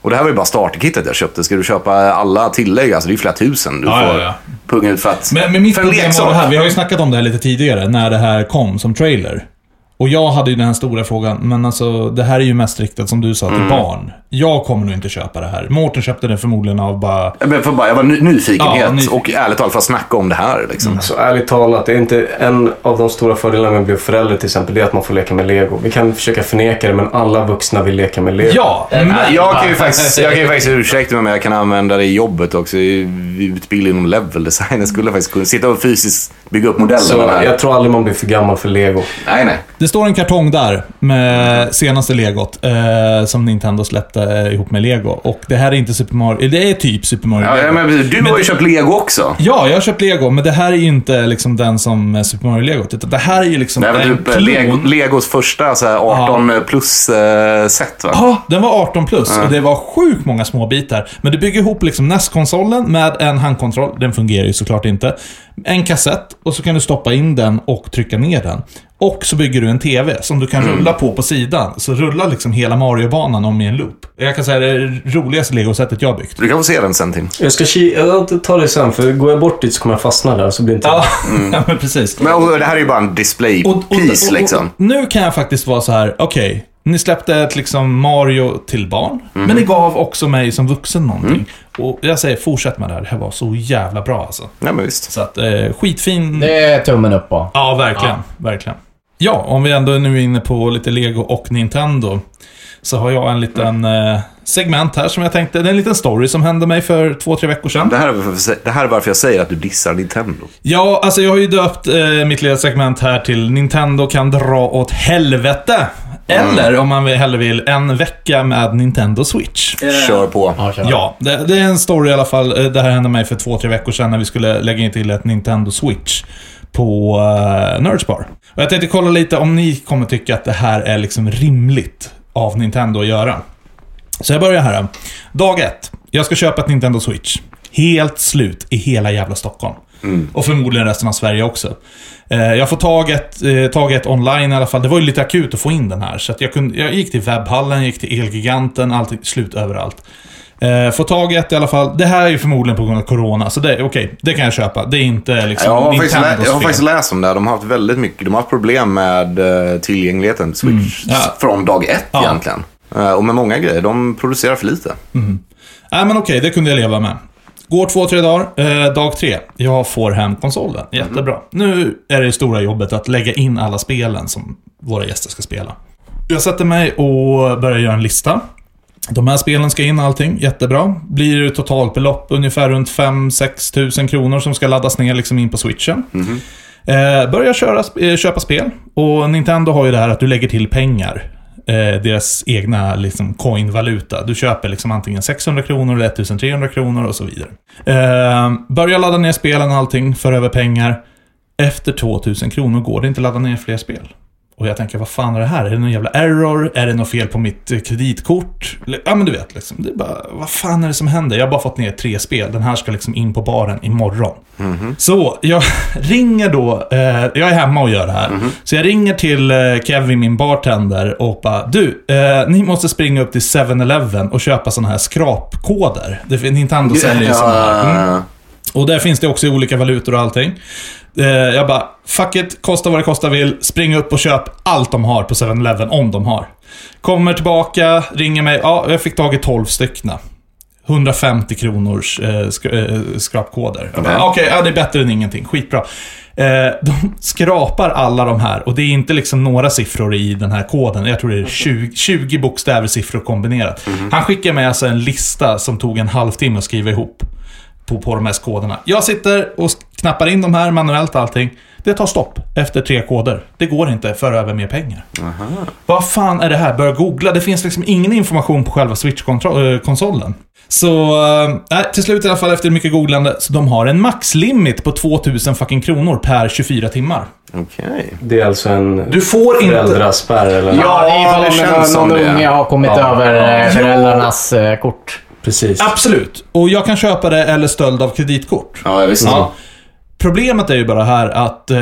S2: Och det här var ju bara starterkittet jag köpte. Ska du köpa alla tillägg, alltså det är ju flera tusen du
S1: Ja,
S2: får
S1: ja, ja.
S2: punga ut för att...
S1: Men, men mitt
S2: för en
S1: problem var
S2: leksak.
S1: det här, vi har ju snackat om det här lite tidigare, när det här kom som trailer. Och jag hade ju den här stora frågan, men alltså det här är ju mest riktat som du sa till
S2: Mm.
S1: barn. Jag kommer nog inte köpa det här. Mårten köpte den förmodligen av bara...
S2: Jag, men för bara, jag var ny, nyfikenhet
S1: Ja, nyfiken.
S2: och ärligt talat för att snacka om det här. Liksom.
S4: Så Alltså, ärligt talat, det är inte en av de stora fördelarna med att bli förälder till exempel, det är att man får leka med lego. Vi kan försöka förneka det, men alla vuxna vill leka med lego.
S1: Ja, men...
S2: Nej, Jag kan ju faktiskt, jag kan ju faktiskt ursäkta mig, men jag kan använda det i jobbet också. I utbildning inom level design. Jag skulle faktiskt kunna sitta och fysiskt bygga upp modellerna.
S4: Så
S2: där.
S4: jag tror aldrig man blir för gammal för lego.
S5: Nej, nej.
S1: Det Det står en kartong där med senaste legot eh, som Nintendo släppte eh, ihop med Lego. Och det här är inte Super Mario... Det är typ Super Mario
S5: Ja,
S1: Lego.
S5: ja, men precis. du har ju köpt lego också.
S1: Ja, jag har köpt Lego, men det här är ju inte liksom den som eh, Super Mario Lego. Utan det här är ju liksom
S5: Det här var
S1: en
S5: typ eh, Lego,
S1: klon.
S5: Legos första så här 18 plus-set va?
S1: Ja, den var 18 plus och det var sjukt många små bitar. Men du bygger ihop liksom NES-konsolen med en handkontroll. Den fungerar ju såklart inte. En kassett och så kan du stoppa in den och trycka ner den. Och så bygger du en TV som du kan rulla på på sidan. Så rullar liksom hela Mario-banan om i en loop. Jag kan säga det är det roligaste Lego-sättet jag har byggt.
S5: Du kan få se den sen Tim.
S4: Jag ska ki- jag tar det sen, för går jag bort dit så kommer jag fastna där så blir det inte...
S1: Ja, ja men precis.
S5: Men, och, det här är ju bara en
S1: Och- och- och-
S5: display-piece
S1: och-
S5: liksom.
S1: Nu kan jag faktiskt vara så här, okej, ni släppte ett liksom Mario till barn, men ni gav också mig som vuxen någonting. Och jag säger, fortsätt med det här, det här var så jävla bra alltså.
S5: Nej, men visst.
S1: Så att, eh, skitfin...
S3: Det är tummen upp på.
S1: Ja, verkligen, verkligen. Ja, om vi ändå är nu inne på lite Lego och Nintendo. Så har jag en liten eh, segment här som jag tänkte, det är en liten story som hände mig för två, tre veckor sedan.
S5: Det här, är varför, det här är varför jag säger att du dissar Nintendo.
S1: Ja, alltså jag har ju döpt eh, mitt lilla segment här till Nintendo kan dra åt helvete. Eller om man vill- hellre vill, en vecka med Nintendo Switch.
S5: Kör på.
S3: Ja, kör.
S1: Ja, det, det är en story i alla fall. Eh, Det här hände mig för två, tre veckor sedan när vi skulle lägga in till ett Nintendo Switch på uh, Nerdsbar. Och jag tänkte kolla lite om ni kommer tycka att det här är liksom rimligt av Nintendo att göra. Så jag börjar här. Dag ett. Jag ska köpa ett Nintendo Switch. Helt slut i hela jävla Stockholm. Och förmodligen resten av Sverige också. Eh, Jag får tag ett, eh, tag ett online i alla fall. Det var ju lite akut att få in den här. Så att jag, kunde, jag gick till webbhallen, gick till Elgiganten, allt slut överallt. Eh, Få tag ett i alla fall. Det här är ju förmodligen på grund av Corona, så det, okej, det kan jag köpa. Det är inte liksom
S5: Jag har, faktiskt, lä-
S1: Nintendos
S5: jag har
S1: fel.
S5: faktiskt läst om det här. De har haft väldigt mycket. De har haft problem med eh, tillgängligheten till Switch
S1: Mm. Ja.
S5: från dag ett
S1: Ja.
S5: egentligen. Eh, och med många grejer. De producerar för lite.
S1: Nej, men okej, det kunde jag leva med. Går två, tre dagar. Eh, dag tre. Jag får hem konsolen. Jättebra. Nu är det stora jobbet att lägga in alla spelen som våra gäster ska spela. Jag sätter mig och börjar göra en lista. De här spelen ska in allting, jättebra. Blir det totalbelopp ungefär runt 5-6 tusen kronor som ska laddas ner liksom in på switchen. Eh, börjar köra, eh, köpa spel. Och Nintendo har ju det här att du lägger till pengar. Eh, deras egna liksom, coin-valuta. Du köper liksom antingen 600 kronor eller 1300 kronor och så vidare. Eh, börjar ladda ner spelen och allting, för över pengar. Efter 2000 kronor går det inte att ladda ner fler spel. Och jag tänker, vad fan är det här? Är det någon jävla error? Är det något fel på mitt eh, kreditkort? Eller- Ja, men du vet liksom. Det är bara, vad fan är det som händer? Jag har bara fått ner tre spel. Den här ska liksom in på baren imorgon. Så jag ringer då, eh, jag är hemma och gör det här. Så jag ringer till eh, Kevin, min bartender, och bara Du, eh, ni måste springa upp till 7-Eleven och köpa sådana här skrapkoder. Det, fin- Nintendo säljer ju sådana här. Mm.
S5: Eh,
S1: Och där finns det också i olika valutor och allting. Eh, jag bara, fuck it, kosta vad det kosta vill. Spring upp och köp allt de har på 7-Eleven, om de har. Kommer tillbaka, ringer mig. Ja, jag fick tag i 12 stycken. 150 kronors eh, sk- eh, skrapkoder. Jag bara, Okej, ja, det är bättre än ingenting. Skitbra. Eh, de skrapar alla de här och det är inte liksom några siffror i den här koden. Jag tror det är 20, 20 bokstäver siffror kombinerat. Han skickar mig alltså en lista som tog en halvtimme att skriva ihop på, på de här koderna. Jag sitter och knappar in de här manuellt allting. Det tar stopp efter tre koder. Det går inte, för över mer pengar. Vad fan är det här? Börja googla. Det finns liksom ingen information på själva Switch-konsolen. Så, eh, till slut i alla fall efter mycket googlande, så de har en maxlimit på 2000 fucking kronor per 24 timmar.
S5: Okej.
S4: Det är alltså en
S1: Du får inte...
S4: föräldraspärr eller något.
S5: Ja,
S3: det är ifall
S5: det
S3: om
S5: känns
S3: någon,
S5: som
S3: någon
S5: det.
S3: unge har kommit över eh, föräldrarnas eh, kort.
S4: Precis.
S1: Absolut. Och jag kan köpa det eller stöld av kreditkort.
S5: Ja, jag visste.
S1: Ja. Problemet är ju bara här att eh,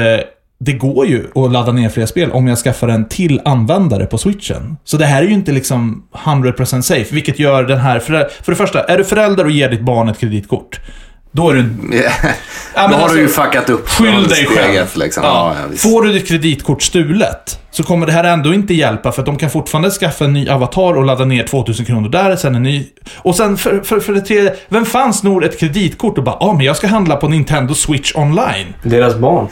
S1: det går ju att ladda ner fler spel om jag skaffar en till användare på switchen. Så det här är ju inte liksom 100% safe, vilket gör den här... För, för det första, är du förälder och ger ditt barn ett kreditkort, då är du... Ja, men
S5: Då har
S1: alltså-
S5: du ju fuckat upp
S1: Skyll dig
S5: steget,
S1: själv.
S5: Liksom.
S1: Ja.
S5: Ja, ja, visst.
S1: Får du ditt kreditkort stulet så kommer det här ändå inte hjälpa för att de kan fortfarande skaffa en ny avatar och ladda ner 2000 kronor där, sen en ny... Och sen för, för, för det tredje, vem fan snor ett kreditkort och bara ah, men jag ska handla på Nintendo Switch online”?
S4: Deras barn.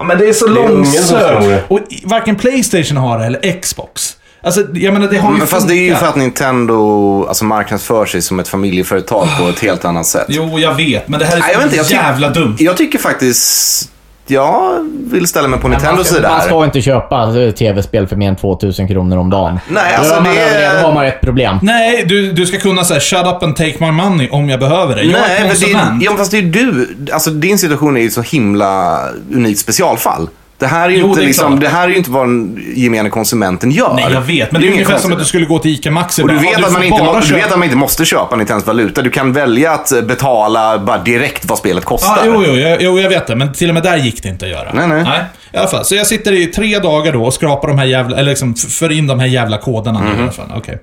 S1: Ja, men det är så
S4: är ungen som snor det.
S1: långsökt. Och i- varken Playstation har det eller Xbox. Alltså, jag menar det har ju
S5: Men fast det är ju
S1: funkat.
S5: för att Nintendo alltså, marknadsför sig som ett familjeföretag på ett helt annat sätt.
S1: Jo, jag vet, men det här är
S5: Nej, jag vet
S1: så
S5: inte, jag tyck-
S1: jävla dumt.
S5: Jag tycker faktiskt
S2: jag vill ställa mig på
S3: man,
S2: Nintendos
S3: ska,
S2: sida
S3: man
S2: här.
S3: ska inte köpa eh, tv-spel för mer än 2000 kronor om dagen.
S2: Nej,
S3: Då
S2: alltså
S3: är man
S2: det-
S3: överlevd, Då har man ett problem.
S1: Nej, du, du ska kunna säga shut up and take my money om jag behöver det. Jag
S2: Nej,
S1: är
S2: men det är,
S1: konsument.
S2: ja, men fast det är du. Alltså, din situation är ju så himla unikt specialfall. Det här är ju
S1: Jo,
S2: inte,
S1: det är
S2: liksom,
S1: klart.
S2: det här är ju inte vad den gemene konsumenten gör.
S1: Nej, jag vet. Men det är
S2: ju inget
S1: ungefär som att du
S2: konstigt.
S1: skulle gå till ICA Maxi
S2: Och du
S1: bara,
S2: vet,
S1: "Ja,
S2: att man
S1: får
S2: inte,
S1: bara
S2: må- du
S1: köpa."
S2: vet att man inte måste köpa Nintendos valuta. Du kan välja att eh, betala bara direkt vad spelet kostar.
S1: Ja, Ah, jo, jo, jag, jo, jag vet det. Men till och med där gick det inte att göra.
S2: Nej, nej.
S1: I alla fall. Så jag sitter i tre dagar då och skrapar de här jävla, eller liksom f- för in de här jävla koderna. nu i alla fall. Okej.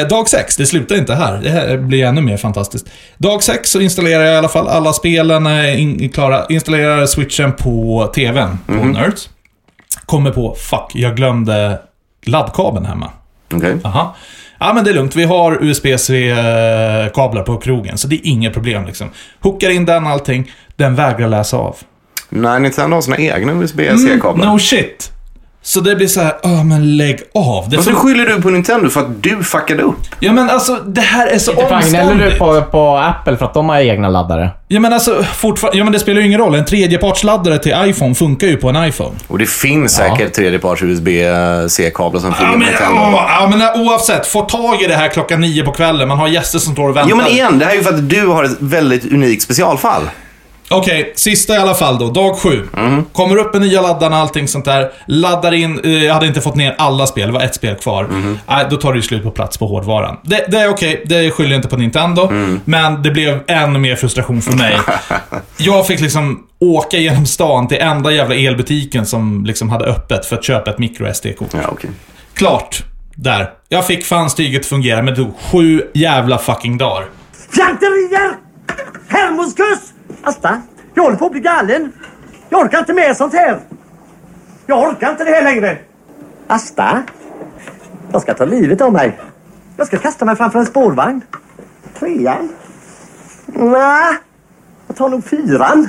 S1: Eh, dag sex, det slutar inte här. Det här blir ännu mer fantastiskt. Dag sex så installerar jag i alla fall alla spelen är in, klara. Installerar switchen på TVn, på
S2: Mhm.
S1: Nerds. Kommer på, fuck, jag glömde laddkabeln hemma.
S2: Okej.
S1: Aha. Ja, men det är lugnt. Vi har USB-C-kablar på krogen, så det är inget problem. Liksom. Hookar in den allting. Den vägrar läsa av.
S2: Nej, Nintendo har sina egna USB-C-kablar.
S1: No shit! Så det blir så här, "Åh, men lägg av. Det
S2: Och så
S1: får-
S2: skyller du på Nintendo för att du fuckade upp.
S1: Ja, men alltså, det här är så
S3: Inte fan gnäller du
S1: omständigt.
S3: på, på Apple för att de har egna laddare.
S1: Ja, men alltså, fortfarande... Ja, men det spelar ju ingen roll. En tredjepartsladdare till iPhone funkar ju på en iPhone.
S2: Och det finns säkert tredjeparts USB-C-kablar som följer
S1: Ja,
S2: med
S1: men,
S2: Nintendo.
S1: åh, ja, men oavsett. Få tag i det här klockan nio på kvällen. Man har gäster som står och väntar.
S2: Jo men igen, det här är ju för att du har ett väldigt unikt specialfall.
S1: Okej, sista i alla fall då. Dag sju. Kommer upp med nya laddarna, allting sånt där. Laddar in, eh, jag hade inte fått ner alla spel, det var ett spel kvar. Nej, då tar det ju slut på plats på hårdvaran. Det, det är okej, det skyller jag inte på Nintendo. Men det blev ännu mer frustration för mig. jag fick liksom åka genom stan till enda jävla elbutiken som liksom hade öppet för att köpa ett micro SD-kort.
S2: Ja, okej.
S1: Klart. Där. Jag fick fan styget att fungera, men det tog sju jävla fucking dagar.
S6: Slakterier! Hermoskus! Asta, jag håller på att bli galen. Jag orkar inte med sånt här. Jag orkar inte det här längre. Asta, jag ska ta livet av mig. Jag ska kasta mig framför en spårvagn. Trean? Nej, jag tar nog fyran.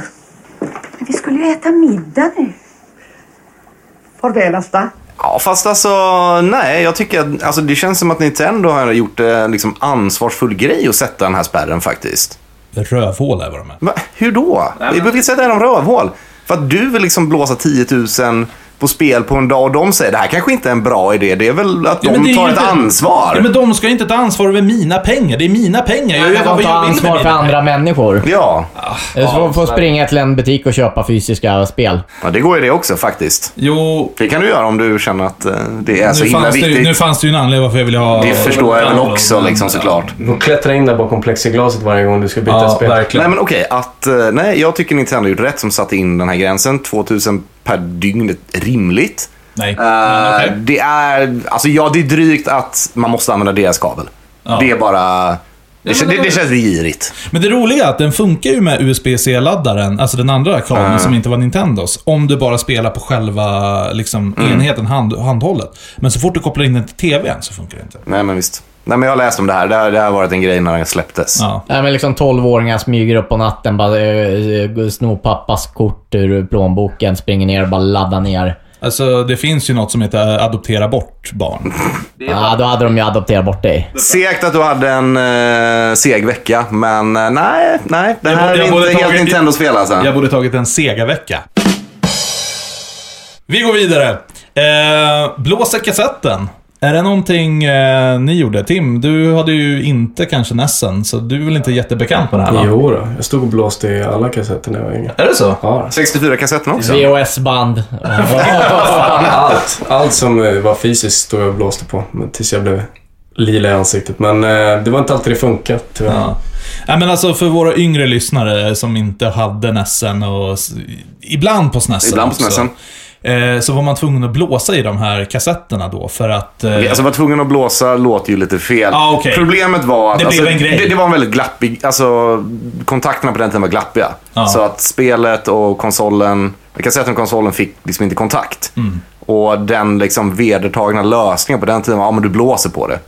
S7: Men vi skulle ju äta middag nu.
S6: Farväl, Asta.
S2: Ja, fast alltså nej, jag tycker att alltså, det känns som att Nintendo har gjort en liksom, ansvarsfull grej att sätta den här spärren faktiskt.
S1: Rövhål är vad de är.
S2: Va? Hur då? Vi på vilket sätt är de rövhål? För att du vill liksom blåsa 10 000 på spel på en dag och de säger det här kanske inte är en bra idé. Det är väl att
S1: Ja, men det
S2: de
S1: är
S2: tar
S1: ju
S2: ett
S1: inte-
S2: ansvar.
S1: Ja, men de ska inte ta ansvar över mina pengar. Det är mina pengar. Jag
S3: De
S1: gör vad
S3: tar
S1: jag vill med
S3: ansvar för
S1: mina
S3: andra människor.
S2: Ja.
S3: Du får, får springa till en butik och köpa fysiska spel.
S2: ja, det går ju det också faktiskt.
S1: Jo,
S2: Det kan du göra om du känner att eh, det är så
S1: nu,
S2: himla
S1: fanns det,
S2: viktigt.
S1: ju- nu fanns det ju en anledning varför jag ville ha...
S2: Det förstår jag väl också liksom såklart.
S4: Du får klättra in där bakom plexiglaset varje gång du ska byta
S1: Ja,
S4: spel.
S1: verkligen.
S2: Nej men okej, att, eh, nej jag tycker Nintendo har gjort rätt som satte in den här gränsen. 2000 per dygn är rimligt.
S1: Nej.
S2: Eh,
S1: Men okej.
S2: Det är, alltså ja det är drygt att man måste använda deras kabel. Det är bara, det, kän- det, det känns girigt.
S1: Men det roliga är att den funkar ju med USB-C-laddaren, alltså den andra kabeln
S2: Eh.
S1: som inte var Nintendos, om du bara spelar på själva liksom,
S2: Mm.
S1: enheten, hand, handhållet. Men så fort du kopplar in den till TVn så funkar det inte.
S2: Nej men visst. Nej men jag har läst om det här, det här, det här har varit en grej när den släpptes.
S1: Ja.
S3: Nej, men liksom 12-åringar smyger upp på natten, bara eh, snor pappas kort ur plånboken, springer ner och bara laddar ner.
S1: Alltså, det finns ju något som heter eh, adoptera bort barn.
S3: Ja, då hade de ju adopterat bort dig.
S2: Segt att du hade en eh, seg vecka, men eh, nej, nej. Det
S1: Jag
S2: här
S1: borde- jag
S2: är
S1: borde
S2: inte helt
S1: tagit-
S2: Nintendo-spel alltså.
S1: Jag borde tagit en Sega-vecka. Vi går vidare. Eh, blåsa kassetten. Är det någonting eh, ni gjorde? Tim, du hade ju inte kanske Nessen, så du är väl inte jättebekant med det här? Va?
S4: Jo då, jag stod och blåste i alla kassetter när jag var yngre.
S1: Är det så?
S4: Ja,
S2: 64-kassetten också.
S3: VHS-band.
S4: allt. Allt som eh, var fysiskt stod jag och blåste på men tills jag blev lila i ansiktet. Men eh, det var inte alltid det funkade tyvärr.
S1: Ja. Nej, men alltså för våra yngre lyssnare som inte hade Nessen och s- ibland på Snessen
S2: Ibland på
S1: också,
S2: SNESen.
S1: Eh, så var man tvungen att blåsa i de här kassetterna då för att... Eh,
S2: Alltså var tvungen att blåsa låter ju lite fel.
S1: Ja, okej.
S2: Problemet var att
S1: Det blev
S2: alltså,
S1: en grej.
S2: Det, det var en väldigt glappig, alltså kontakterna på den tiden var glappiga.
S1: Ja.
S2: Så att spelet och konsolen, kassetten och konsolen fick liksom inte kontakt.
S1: Mm.
S2: Och den liksom vedertagna
S1: Mm.
S2: lösningen på den tiden var, ja men du blåser på det.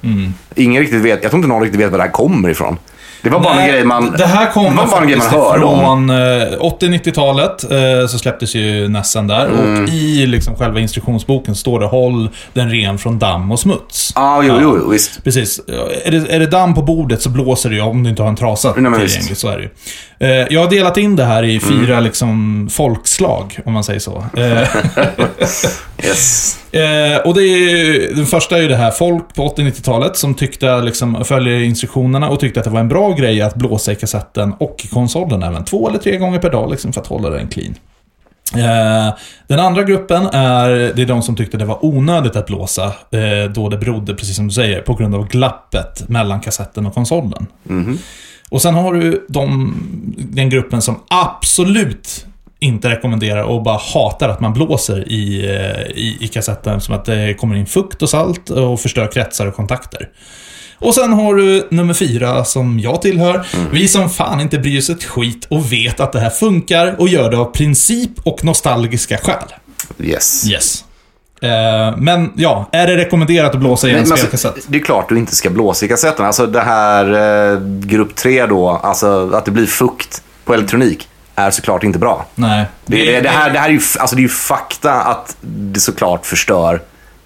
S2: Ingen riktigt vet, jag tror inte någon riktigt vet var det här kommer ifrån. Det var bara en grej man...
S1: Det här
S2: det
S1: kommer
S2: var bara en grej man
S1: faktiskt
S2: hörde om.
S1: från eh, 80-90-talet. eh, Så släpptes ju Nessen där.
S2: Mm.
S1: Och i liksom själva instruktionsboken står det håll den ren från damm och smuts.
S2: Ja, Ah, jo, jo, jo, visst.
S1: Precis. Är det, är det damm på bordet så blåser det ju om du inte har en trasa
S2: Nej, men visst. Mm.
S1: tillgänglig. Så är det ju. Eh, Jag har delat in det här i fyra liksom, folkslag, om man säger så. Eh,
S2: Yes.
S1: Eh, och det är ju, den första är ju det här, folk på 80-90-talet som tyckte, liksom, följde instruktionerna och tyckte att det var en bra grej att blåsa i kassetten och i konsolen även. Två eller tre gånger per dag liksom, för att hålla den clean. Eh, Den andra gruppen är, det är de som tyckte det var onödigt att blåsa eh, då det berodde, precis som du säger, på grund av glappet mellan kassetten och konsolen. Och sen har du de, den gruppen som absolut inte rekommenderar och bara hatar att man blåser i, eh, i, i kassetten som att det kommer in fukt och salt och förstör kretsar och kontakter. Och sen har du nummer fyra som jag tillhör.
S2: Mm.
S1: Vi som fan inte bryr oss ett skit och vet att det här funkar och gör det av princip och nostalgiska skäl.
S2: yes.
S1: Yes. Eh, men ja, är det rekommenderat att blåsa i en
S2: Men, men
S1: spelkassett?
S2: alltså, det är klart du inte ska blåsa i kassetten. Alltså det här eh, grupp 3 då, alltså att det blir fukt på elektronik är såklart inte bra.
S1: Nej.
S2: Det, det, det, här, det här är ju, f- alltså det är ju fakta att det såklart förstör,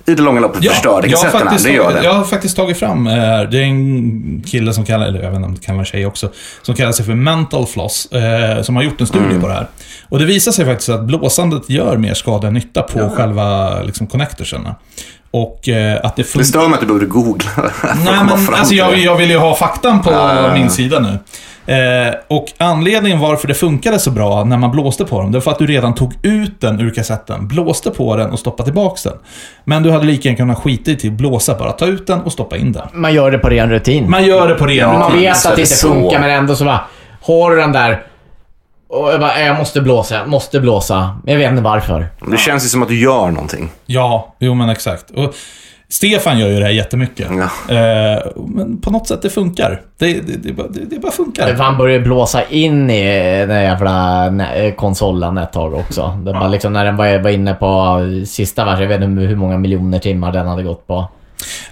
S2: i det långa loppet förstör det
S1: jag har,
S2: kassetterna.
S1: faktiskt
S2: Det gör
S1: tagit,
S2: det.
S1: jag har faktiskt tagit fram, eh, det är en kille som kallar, eller jag vet inte om det kan vara en tjej också, som kallar sig för Mental Floss, eh, som har gjort en studie på det här. Och det visar sig faktiskt att blåsandet gör mer skada än nytta på själva liksom, connectorserna. Och eh, att det
S2: Det
S1: funkar...
S2: stör mig att du behöver googla. för att
S1: Nej,
S2: komma
S1: men
S2: fram
S1: alltså
S2: till
S1: jag,
S2: det.
S1: jag vill ju ha faktan på min sida nu. Eh, och anledningen varför det funkade så bra när man blåste på dem, det var för att du redan tog ut den ur kassetten, blåste på den och stoppade tillbaks den. Men du hade lika gärna kunnat skita i till att blåsa, bara ta ut den och stoppa in den.
S3: Man gör det på ren rutin.
S1: Man gör det på ren
S3: Man
S1: rutin.
S3: vet
S2: så
S3: att alltså, det
S2: är det
S3: inte
S2: så.
S3: funkar, men ändå så bara... Har du den där... Och jag bara, "Eh, jag måste blåsa, jag måste blåsa. Men jag vet inte varför.
S2: Det känns ju som att du gör någonting.
S1: Ja, jo men exakt. Och Stefan gör ju det här jättemycket.
S2: Ja.
S1: Eh, men på något sätt det funkar. Det, det, det, bara, det, det bara funkar.
S3: För han började blåsa in i den jävla nä- konsolen ett tag också. Det var liksom när den var var inne på sista versen, jag vet inte hur många miljoner timmar den hade gått på.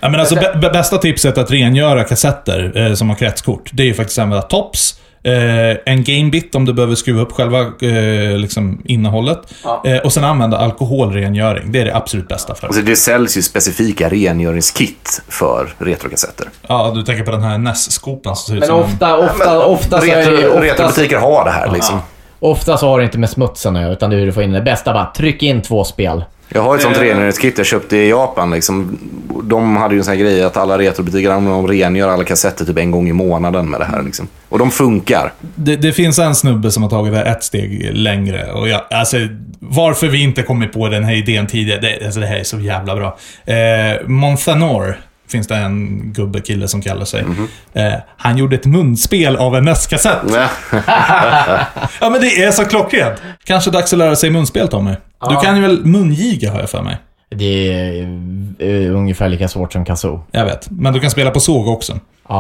S1: Ja, men alltså, bä- bä- bästa tipset att rengöra kassetter eh, som har kretskort, det är ju faktiskt att använda tops. Eh, en gamebit om du behöver skruva upp själva eh, liksom, innehållet. Eh, och sen använda alkoholrengöring. Det är det absolut bästa för.
S2: Alltså det säljs ju specifika rengöringskit för retrokassetter.
S1: Ja, du tänker på den här NES-skopan som ser ut
S3: Liksom. Men
S1: som en-
S3: ofta, ofta, ofta så
S2: Alltså,
S3: är det
S2: retro,
S3: ju... Ofta,
S2: retrobutiker har det här liksom.
S3: ofta så har det inte med smutsen nu, utan det är hur du får in det. Bästa bara, tryck in två spel.
S2: Jag har ett
S1: Eh.
S2: sånt rengöringskit jag köpte i Japan. Liksom. De hade ju en sån här grej att alla retrobutiker använder de rengör alla kassetter typ en gång i månaden med det här. Liksom. Och de funkar.
S1: Det, det finns en snubbe som har tagit det här ett steg längre. Och jag, alltså, varför vi inte kommit på den här idén tidigare, det, alltså, det här är så jävla bra. Eh, Monthanor finns det en gubbe, kille som kallar sig. Eh, han gjorde ett munspel av en NES-kassett. Ja, men det är så klockrent. Kanske dags att lära sig munspel, Tommy. Du kan ju väl mungiga, har jag för mig.
S3: Det är eh, ungefär lika svårt som kazoo.
S1: Jag vet. Men du kan spela på såg också.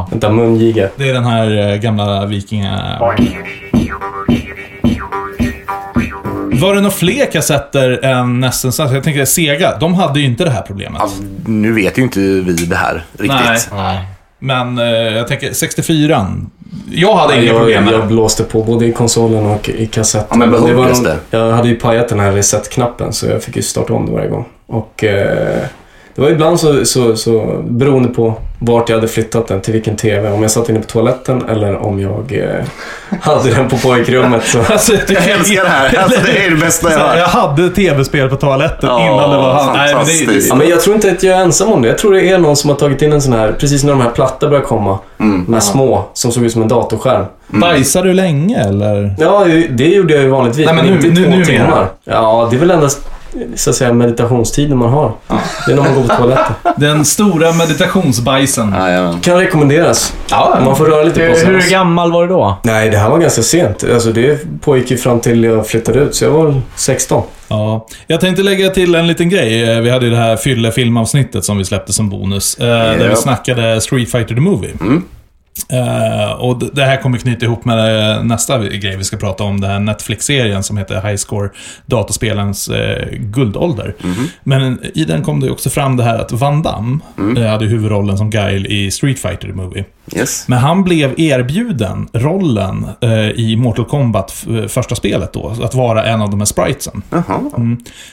S4: Vänta, mungiga.
S1: Det är den här eh, gamla vikinga... Var det några fler kassetter än nästan så? Jag tänker Sega, de hade ju inte det här problemet.
S2: Alltså, nu vet ju inte vi det här riktigt.
S1: Nej.
S3: Nej.
S1: Men eh, jag tänker 64 Jag hade inga problem
S4: Jag,
S1: med
S4: jag
S1: den.
S4: blåste på både i konsolen och i kassetten.
S2: Ja, men
S4: det var
S2: behövdes
S4: någon-
S2: det?
S4: Jag hade ju pajat den här reset-knappen så jag fick ju starta om det varje gång. Och eh, det var ibland så, så, så beroende på vart jag hade flyttat den, till vilken TV. Om jag satt inne på toaletten eller om jag eh, hade den på pojkrummet. Så.
S1: Alltså,
S2: Jag älskar det här. Alltså, det är det bästa jag
S1: Jag
S2: hört.
S1: hade tv-spel på toaletten
S2: Ja,
S1: innan det var han. Nej, men det,
S2: fantastiskt.
S4: Ja, men jag tror inte att jag är ensam om det. Jag tror det är någon som har tagit in en sån här, precis när de här platta började komma.
S1: Mm.
S4: De här små, som såg ut som en datorskärm.
S2: Mm.
S1: Bajsade du länge eller?
S4: Ja, det gjorde jag ju vanligtvis.
S1: Nej, men
S4: men
S1: nu-
S4: inte
S1: nu-
S4: två
S1: numera.
S4: timmar. Ja, det är väl endast så att säga, meditationstiden man har. Det är när man går på toaletten.
S1: Den stora meditationsbajsen.
S2: Jajamän.
S4: Kan rekommenderas.
S1: Ja,
S4: Man får röra lite på
S3: Hur,
S4: sig.
S3: hur gammal var du då?
S4: Nej, det här var ganska sent. Alltså, det pågick ju fram till jag flyttade ut, så jag var väl 16.
S1: Ja, jag tänkte lägga till en liten grej. Eh, Vi hade ju det här fylle filmavsnittet som vi släppte som bonus. eh, Där vi
S2: Japp.
S1: snackade Street Fighter the Movie. Eh, och d- det här kommer knyta ihop med eh, nästa vi- grej vi ska prata om. Den här Netflix-serien som heter High Score, dataspelens eh, guldålder. Men eh, i den kom det ju också fram det här att Van Damme eh, hade huvudrollen som Guile i Street Fighter the Movie.
S2: Yes.
S1: Men han blev erbjuden rollen eh, i Mortal Kombat f- eh, första spelet då, att vara en av de här spritesen.
S2: Jaha.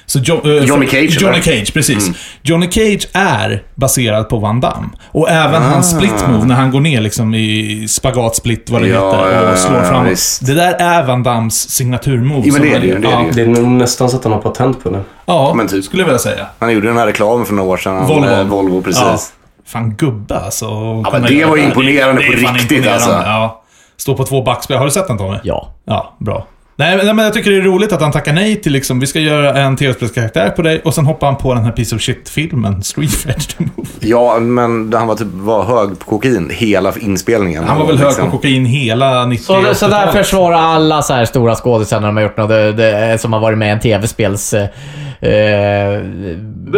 S1: Så Jo- eh,
S2: Johnny
S1: för-
S2: Cage,
S1: Johnny
S2: eller? Mm.
S1: Cage, precis. Johnny Cage är baserad på Van Damme. Och även hans
S2: Ah.
S1: split move, när han går ner liksom i spagat, split, vad det
S2: Ja,
S1: heter, och
S2: ja, ja,
S1: slår
S2: ja,
S1: framåt.
S2: visst.
S1: Det där är Van Dams signaturmove.
S2: Jo, men
S1: som
S2: det är
S1: han
S2: det ju,
S1: gör.
S2: det är
S1: ja,
S2: det ju.
S4: Det är nog nästan så att han har patent på det.
S1: Ja,
S2: Men typ.
S1: skulle jag vilja säga.
S2: Han gjorde den här reklamen för några år sedan.
S1: Volvo.
S2: Eh, Volvo, precis.
S1: Ja. Fan gubbe alltså. Ja,
S2: men det var ju imponerande på riktigt, alltså.
S1: Ja. Stå på två backspel. Har du sett den Tommy?
S3: Ja.
S1: Ja, bra. Nej, men- nej, men jag tycker det är roligt att han tackar nej till liksom, vi ska göra en tv-spelskaraktär på dig och sen hoppar han på den här piece of shit-filmen, Street Fighter Movie.
S2: Ja, men han var typ var hög på kokain hela inspelningen.
S1: Han var väl hög
S2: Liksom.
S1: på kokain hela 90
S3: Så, så där försvarar alla så här stora skådisar när de har gjort något det, det, som har varit med i en tv-spels... Eh,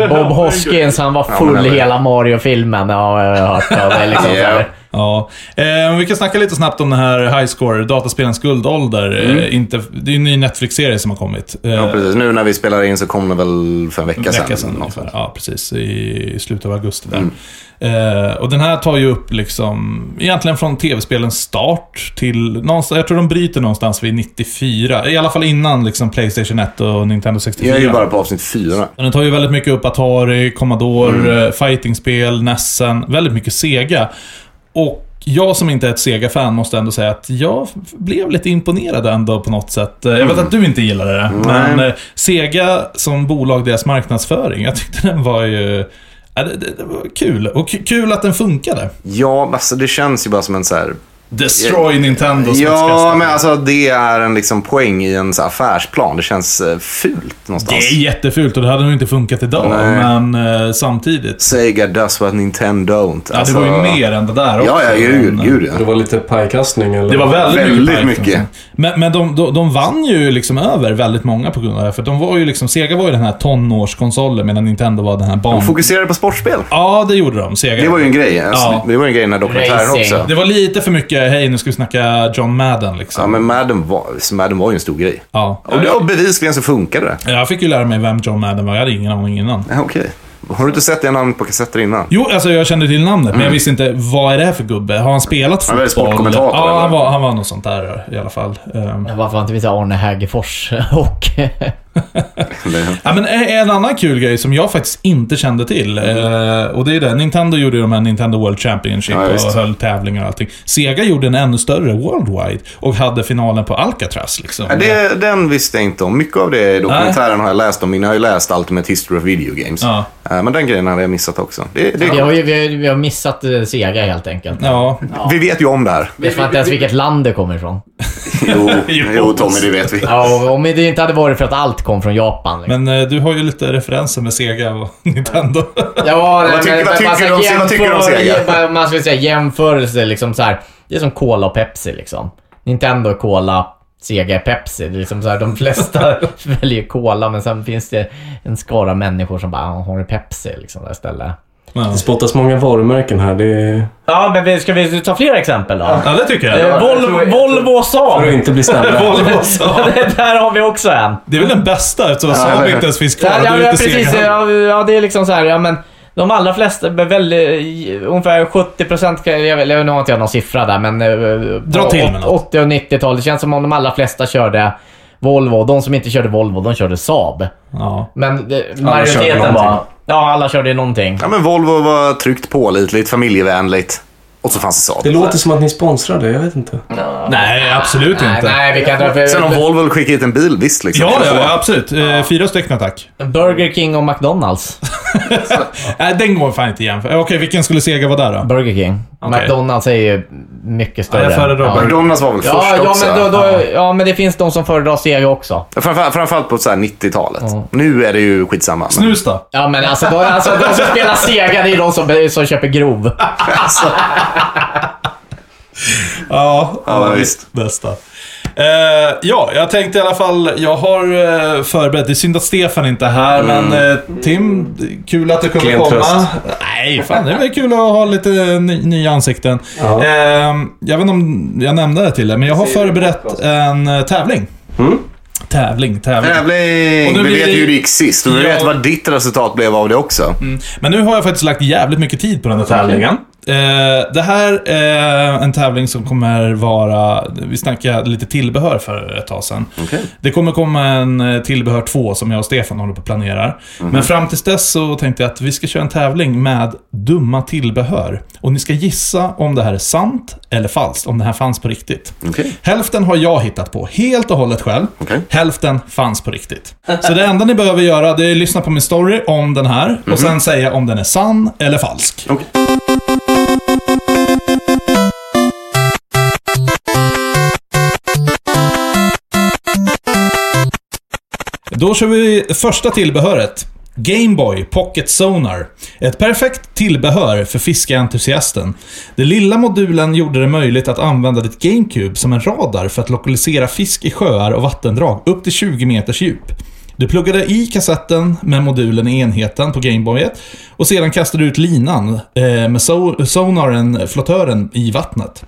S3: Bob Hoskins, han var full
S2: men eller-
S3: hela Mario-filmen. Ja, jag har hört. Ja, det är liksom så
S2: Ja.
S3: här.
S1: Ja. Eh, vi kan snacka lite snabbt om den här High Score, dataspelens guldålder. Eh, inte, det är ju en ny Netflix-serie som har kommit. Eh,
S2: Mm. Ja, precis. Nu när vi spelar in så kom det väl för en vecka,
S1: en vecka
S2: sedan. Mm.
S1: sedan.
S2: någonstans.
S1: ungefär. Ja, precis. I, i slutet av augusti där. Eh, och den här tar ju upp liksom, egentligen från tv-spelens start till, någonstans, jag tror de bryter någonstans vid 94. I alla fall innan liksom Playstation 1 och Nintendo 64.
S2: Jag är ju bara på avsnitt fyra.
S1: Men Den tar ju väldigt mycket upp Atari, Commodore,
S2: Mm.
S1: eh, fightingspel, Nessen, väldigt mycket Sega. Och jag som inte är ett Sega-fan måste ändå säga att jag f- blev lite imponerad ändå på något sätt. Eh, Jag
S2: Mm.
S1: vet att du inte gillade det, men eh, Sega som bolag, deras marknadsföring, jag tyckte den var ju... ja, Det, det, det var kul. Och k- kul att den funkade.
S2: Ja, alltså det känns ju bara som en så här...
S1: Destroy Nintendo
S2: Ja,
S1: smutskastare.
S2: men alltså det är en liksom poäng i en så här affärsplan. Det känns eh, fult
S1: Det
S2: någonstans.
S1: är jättefult och det hade nog inte funkat idag,
S2: Nej.
S1: men eh, samtidigt.
S2: Sega does what Nintendo don't. Alltså-
S1: Ja, det var ju mer än det där också.
S2: Ja, ja, gud,
S1: men, eh,
S2: gud ja.
S4: Det var lite pajkastning eller?
S1: Det var väldigt,
S2: Väldigt
S1: mycket. Python.
S2: mycket.
S1: Men, men de, de, de vann ju liksom över väldigt många på grund av det här, För de var ju liksom, Sega var ju den här tonårskonsolen medan Nintendo var den här barn...
S2: De fokuserade på sportspel.
S1: Ja, det gjorde de. Sega.
S2: Det var ju en grej. Alltså,
S1: Ja.
S2: Det var ju en grej i den här dokumentären
S3: Racing.
S2: också.
S1: Det var lite för mycket, hej nu ska vi snacka John Madden liksom.
S2: Ja, men Madden var, Madden var ju en stor grej.
S1: Ja.
S2: Och, det- och bevisligen så funkade det.
S1: Jag fick ju lära mig vem John Madden var, jag hade ingen aning innan.
S2: Ja, Okej. Har du inte sett det namnet på kassetter innan?
S1: Jo, alltså jag kände till namnet, men jag visste inte vad är det här för gubbe. Har han spelat fotboll?
S2: Mm. Han var ju sportkommentator,
S1: Ja, han
S2: eller?
S1: var, han var något sånt där i alla fall. Ehm.
S3: Varför har inte vi så här Arne Hägerfors och...
S2: Det-
S1: Ja, men en en annan kul grej som jag faktiskt inte kände till.
S2: Mm.
S1: eh, Och det är det. Nintendo gjorde ju de här Nintendo World Championship
S2: Ja,
S1: och
S2: visst.
S1: höll tävlingar och allting. Sega gjorde en ännu större Worldwide och hade finalen på Alcatraz liksom.
S2: Ja, det, den visste jag inte om. Mycket av det i dokumentären har jag läst om. Jag har ju läst Ultimate History of Video Games.
S1: Ja.
S2: Eh, Men den grejen hade jag missat också. Det, det,
S3: Vi har, ju, vi, har, vi har missat eh, Sega helt enkelt.
S1: Ja,
S2: Vi vet ju om det här.
S3: Vi vet inte ens vilket land det kommer ifrån.
S2: Jo, jo, Tommy, det vet vi.
S3: Ja, och om det inte hade varit för att allt kom från Japan. Liksom.
S1: men eh, du har ju lite referenser med Sega och Nintendo.
S3: Ja, nej,
S2: tycker-
S3: men- men
S2: vad tycker
S3: man ska
S2: du om- vad tycker du om
S3: jämföra-
S2: Sega?
S3: bara- Man skulle säga jämförelse, liksom så här. Det är som Cola och Pepsi liksom. Nintendo är Cola, Sega är Pepsi. Det är liksom så här, de flesta väljer Cola, men sen finns det en skara människor som bara, "Ah, har du Pepsi liksom där istället.
S1: Ja,
S4: Det spottas många varumärken här. Det är...
S3: Ja, men vi- ska vi ta fler exempel då?
S1: ja det tycker
S3: Eh,
S1: jag.
S3: Volvo, Volvo och Saab.
S4: För att inte bli stämda.
S1: Volvo och Saab.
S3: Det- där har vi också en.
S1: Det är väl den bästa eftersom Saab inte ens finns kvar.
S3: Ja,
S1: och
S3: ja,
S1: du är
S3: ja,
S1: inte
S3: precis.
S1: Sega.
S3: Ja, ja, det är liksom så här, ja men de allra flesta, men väl, eh, i- ungefär 70% kan- jag vet- nu har inte jag någon siffra där, men... eh,
S1: Dra
S3: på
S1: till med
S3: åt-
S1: något.
S3: 80 och 90-tal, det känns som om de allra flesta körde Volvo. De som inte körde Volvo, de körde Saab.
S1: Ja.
S3: Men det,
S4: körde
S3: majoriteten
S4: någonting.
S3: var... Ja, alla körde någonting.
S2: Ja, men Volvo var tryggt, pålitligt, familjevänligt. Och så fanns det
S4: Det
S2: Saab.
S4: låter som att ni sponsrar det. Jag vet inte.
S1: Nej, absolut
S3: Nej,
S1: inte.
S3: nej, vi kan dra för...
S2: Sen om Volvo vill skicka hit en bil, visst liksom.
S1: Ja, ja, absolut. Eh, Fyra stycken tack.
S3: Burger King och McDonalds.
S1: Nej, den går fan inte igen. Okej, vilken skulle Sega vara där då?
S3: Burger King.
S1: Okej.
S3: McDonalds är ju mycket större.
S1: Ja, jag föredrar Burger
S2: McDonalds var väl
S3: Ja,
S2: först
S3: ja,
S2: också?
S3: men, då, då, ja, men det finns de som föredrar Sega också.
S2: Framförallt, framförallt på så här 90-talet. Nu är det ju skitsamma. Men...
S1: Snus då?
S3: Ja men alltså, då, alltså de som spelar Sega, det är de som, som köper grov.
S1: Ja,
S2: Ja, visst.
S1: Bästa. Eh, ja, jag tänkte i alla fall, jag har eh, förberett, det är synd att Stefan inte är här, men eh, Tim, kul att du kunde
S4: Klen
S1: komma.
S4: tröst.
S1: Nej, fan det är väl kul att ha lite ny, nya ansikten.
S4: Ja.
S1: Eh, jag vet inte om jag nämnde det till dig, men jag har förberett en eh, tävling. Tävling, tävling. Och nu
S2: Tävling! Vi
S1: blir
S2: vet
S1: det-
S2: ju hur det gick sist och vi
S1: Ja. Mm.
S2: vet vad ditt resultat blev av det också.
S1: Men nu har jag faktiskt lagt jävligt mycket tid på den här tävlingen. Eh, det här är en tävling som kommer vara... Vi snackade lite tillbehör för ett tag sedan. Det kommer komma en eh, tillbehör 2 som jag och Stefan håller på och planerar. Men fram tills dess så tänkte jag att vi ska köra en tävling med dumma tillbehör. Och ni ska gissa om det här är sant eller falskt, om det här fanns på riktigt.
S5: Okej.
S1: Hälften har jag hittat på helt och hållet själv.
S5: Okej.
S1: Hälften fanns på riktigt. Så det enda ni behöver göra det är att lyssna på min story om den här
S5: Mhm.
S1: och sen säga om den är sann eller falsk.
S5: Okej.
S1: Då kör vi första tillbehöret. Gameboy Pocket Sonar. Ett perfekt tillbehör för fiskeentusiasten. Den lilla modulen gjorde det möjligt att använda ditt GameCube som en radar för att lokalisera fisk i sjöar och vattendrag upp till 20 meters djup. Du pluggade i kassetten med modulen i enheten på Gameboyet och sedan kastade du ut linan eh, med so- sonaren, flottören, i vattnet.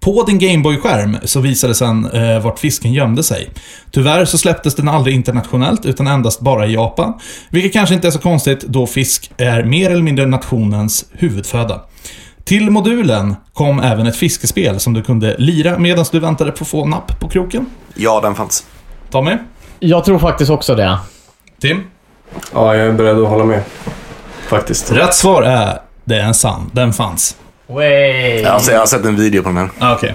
S1: På din Gameboy-skärm så visades sen eh, vart fisken gömde sig. Tyvärr så släpptes den aldrig internationellt utan endast bara i Japan. Vilket kanske inte är så konstigt då fisk är mer eller mindre nationens huvudföda. Till modulen kom även ett fiskespel som du kunde lira medan du väntade på att få napp på kroken.
S5: Ja, den fanns.
S1: Tommy?
S3: Jag tror faktiskt också det.
S1: Tim?
S4: Ja, jag är beredd att hålla med. Faktiskt.
S1: Rätt svar är det är en sann. Den fanns.
S3: Way.
S5: Alltså, jag har sett en video på den här.
S1: Ah, Okej.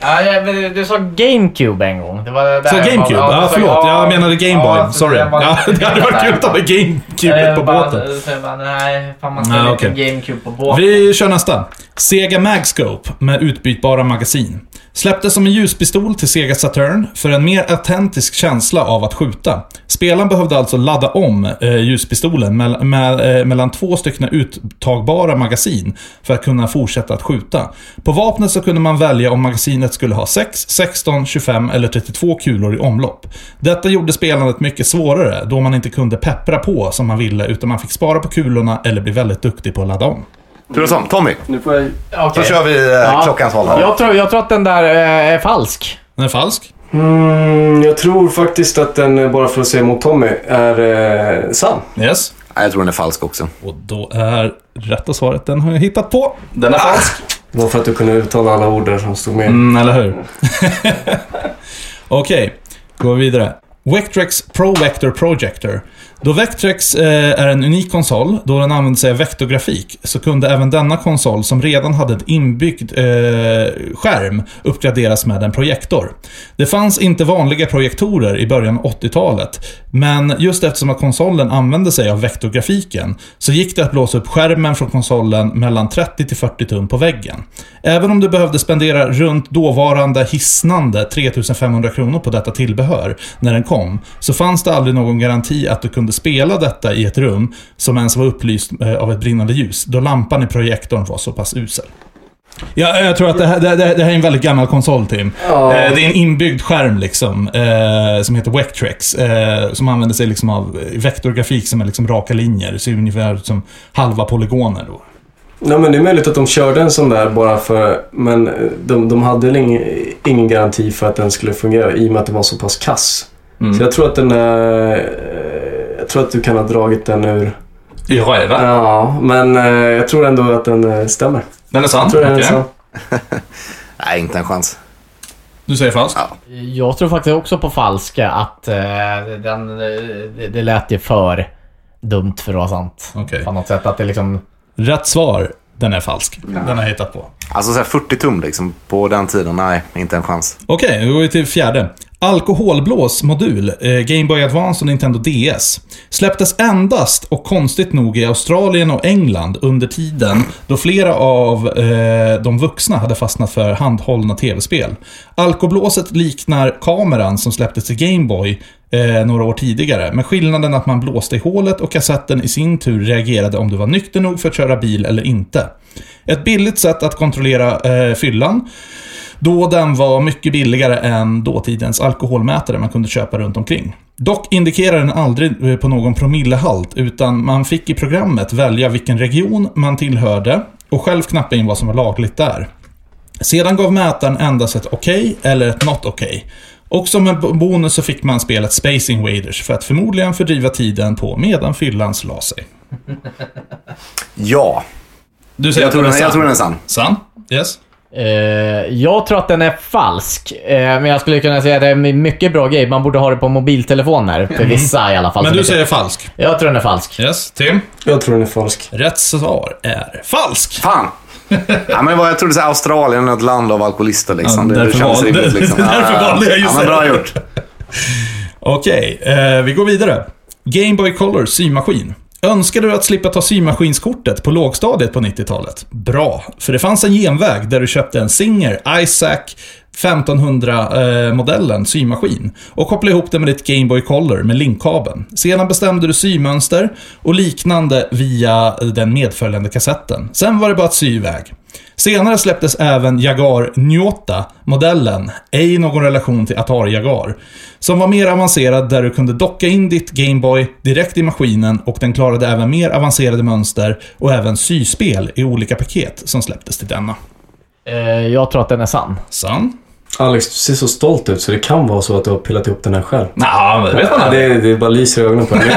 S3: Ja, jag- men du sa GameCube en gång. Det var där
S1: Så
S3: jag var-
S1: GameCube? Ja,
S3: du sa-
S1: förlåt. Jag menade Gameboy.
S3: ja, så
S1: Sorry.
S3: den var-
S1: Ja, det hade varit kul att ha med
S3: Jag
S1: GameCube på
S3: bara-
S1: båten.
S3: så jag bara, Nej, fan man ställer
S1: Nej,
S3: inte
S1: okej.
S3: GameCube på båten.
S1: Vi kör nästa. Sega Magscope med utbytbara magasin. Släpptes som en ljuspistol till Sega Saturn för en mer autentisk känsla av att skjuta. Spelaren behövde alltså ladda om eh, ljuspistolen mell- med, eh, mellan två stycken uttagbara magasin för att kunna fortsätta att skjuta. På vapnet så kunde man välja om magasinet skulle ha 6, 16, 25 eller 32 kulor i omlopp. Detta gjorde spelandet mycket svårare då man inte kunde peppra på som man ville utan man fick spara på kulorna eller bli väldigt duktig på att ladda om.
S5: Turas om. Tommy,
S4: Nu får jag...
S5: då
S3: Okej.
S5: kör vi eh, klockans håll här.
S3: Jag tror, jag tror att den där eh, är falsk.
S1: Den är falsk.
S4: Mm, jag tror faktiskt att den, eh, bara för att säga mot Tommy, är eh, sann.
S1: Yes.
S5: Nej, jag tror den är falsk också.
S1: Och då är rätta svaret, den har jag hittat på. Ah,
S4: Den är falsk. Det var för att du kunde uttala alla ord där som stod med.
S1: Mm, eller hur? Okej, går vi vidare. Vectrex Pro Vector Projector. Då Vectrex eh, är en unik konsol, då den använder sig av vektorgrafik, så kunde även denna konsol, som redan hade ett inbyggd eh, skärm, uppgraderas med en projektor. Det fanns inte vanliga projektorer i början av 80-talet, men just eftersom att konsolen använde sig av vektorgrafiken, så gick det att blåsa upp skärmen från konsolen mellan 30 till 40 tum på väggen. Även om du behövde spendera runt dåvarande hisnande 3500 kronor på detta tillbehör när den kom, så fanns det aldrig någon garanti att du kunde spela detta i ett rum som ens var upplyst eh, av ett brinnande ljus, då lampan i projektorn var så pass usel. Ja, jag tror att det här, det, det, det här är en väldigt gammal konsol, Tim.
S4: Ja.
S1: Eh, Det är en inbyggd skärm liksom, eh, som heter Vectrex, eh, som använder sig liksom av eh, vektorgrafik som är liksom raka linjer. Det ser ungefär ut som halva polygoner då.
S4: Nej, men det är möjligt att de körde en sån där bara för... Men eh, de, de hade väl ingen, ingen garanti för att den skulle fungera i och med att den var så pass kass. Så jag tror att den är... eh, Jag tror att du kan ha dragit den ur...
S1: I röven?
S4: Ja, men eh, jag tror ändå att den eh, stämmer.
S1: Den är sann?
S4: Jag tror den är
S1: Okej.
S4: sann.
S5: Nej, inte en chans.
S1: Du säger falskt?
S3: Jag tror faktiskt också på falska att eh, den, eh, det, det lät ju för dumt för att vara sant.
S1: Okej.
S3: På något sätt att det liksom...
S1: Rätt svar, den är falsk. Den har jag hittat på.
S5: Alltså så här 40 tum liksom, på den tiden. Nej, inte en chans.
S1: Okej, då går vi till fjärde. Alkoholblåsmodul, eh, Game Boy Advance och Nintendo DS. Släpptes endast och konstigt nog i Australien och England under tiden då flera av eh, de vuxna hade fastnat för handhållna tv-spel. Alkoblåset liknar kameran som släpptes i Game Boy eh, några år tidigare, med skillnaden att man blåste i hålet och kassetten i sin tur reagerade om du var nykter nog för att köra bil eller inte. Ett billigt sätt att kontrollera eh, fyllan, då den var mycket billigare än dåtidens alkoholmätare man kunde köpa runt omkring. Dock indikerar den aldrig eh, på någon promillehalt, utan man fick i programmet välja vilken region man tillhörde och själv knappa in vad som var lagligt där. Sedan gav mätaren endast ett okej eller ett not okej. Och som en bo- bonus så fick man spelet Space Invaders för att förmodligen fördriva tiden på medan fyllan la sig.
S5: Ja.
S1: Du säger
S5: Jag
S1: att
S5: tror, den,
S1: den är
S5: jag tror
S1: sann.
S5: den är sann.
S1: Sann? Yes.
S3: Eh, jag tror att den är falsk. Eh, men jag skulle kunna säga att det är en mycket bra grej. Man borde ha det på mobiltelefoner. För vissa i alla fall.
S1: Mm. Men
S5: Alltså,
S3: som
S1: du
S3: inte-
S1: säger falsk.
S3: Jag tror den är falsk.
S1: Yes. Tim?
S4: Jag tror den är falsk.
S1: Rätt svar är falsk.
S5: Fan! ja, men vad, jag trodde så här, Australien är ett land av alkoholister. Liksom.
S1: Ja,
S5: det, det
S1: därför
S5: känns
S1: valde-
S5: rimligt. Liksom. Ja,
S1: därför
S5: ja,
S1: valde jag
S5: ja,
S1: just det.
S5: men Bra gjort.
S1: Okej, eh, vi går vidare. Game Boy Color symaskin. Önskar du att slippa ta symaskinskortet på lågstadiet på 90-talet? Bra, för det fanns en genväg där du köpte en Singer Isaac 1500-modellen symaskin och kopplade ihop den med ditt Game Boy Color med linkkabeln. Sedan bestämde du symönster och liknande via den medföljande kassetten. Sen var det bara att sy iväg. Senare släpptes även Jaguar Nyota-modellen, ej någon relation till Atari Jaguar, som var mer avancerad där du kunde docka in ditt Gameboy direkt i maskinen och den klarade även mer avancerade mönster och även syspel i olika paket som släpptes till denna.
S3: Eh, jag tror att den är sann.
S1: Sann?
S4: Alex, du ser så stolt ut så det kan vara så att du har pillat ihop den här själv.
S1: Nja, men det vet
S4: Ja, det, det bara lyser i ögonen på dig.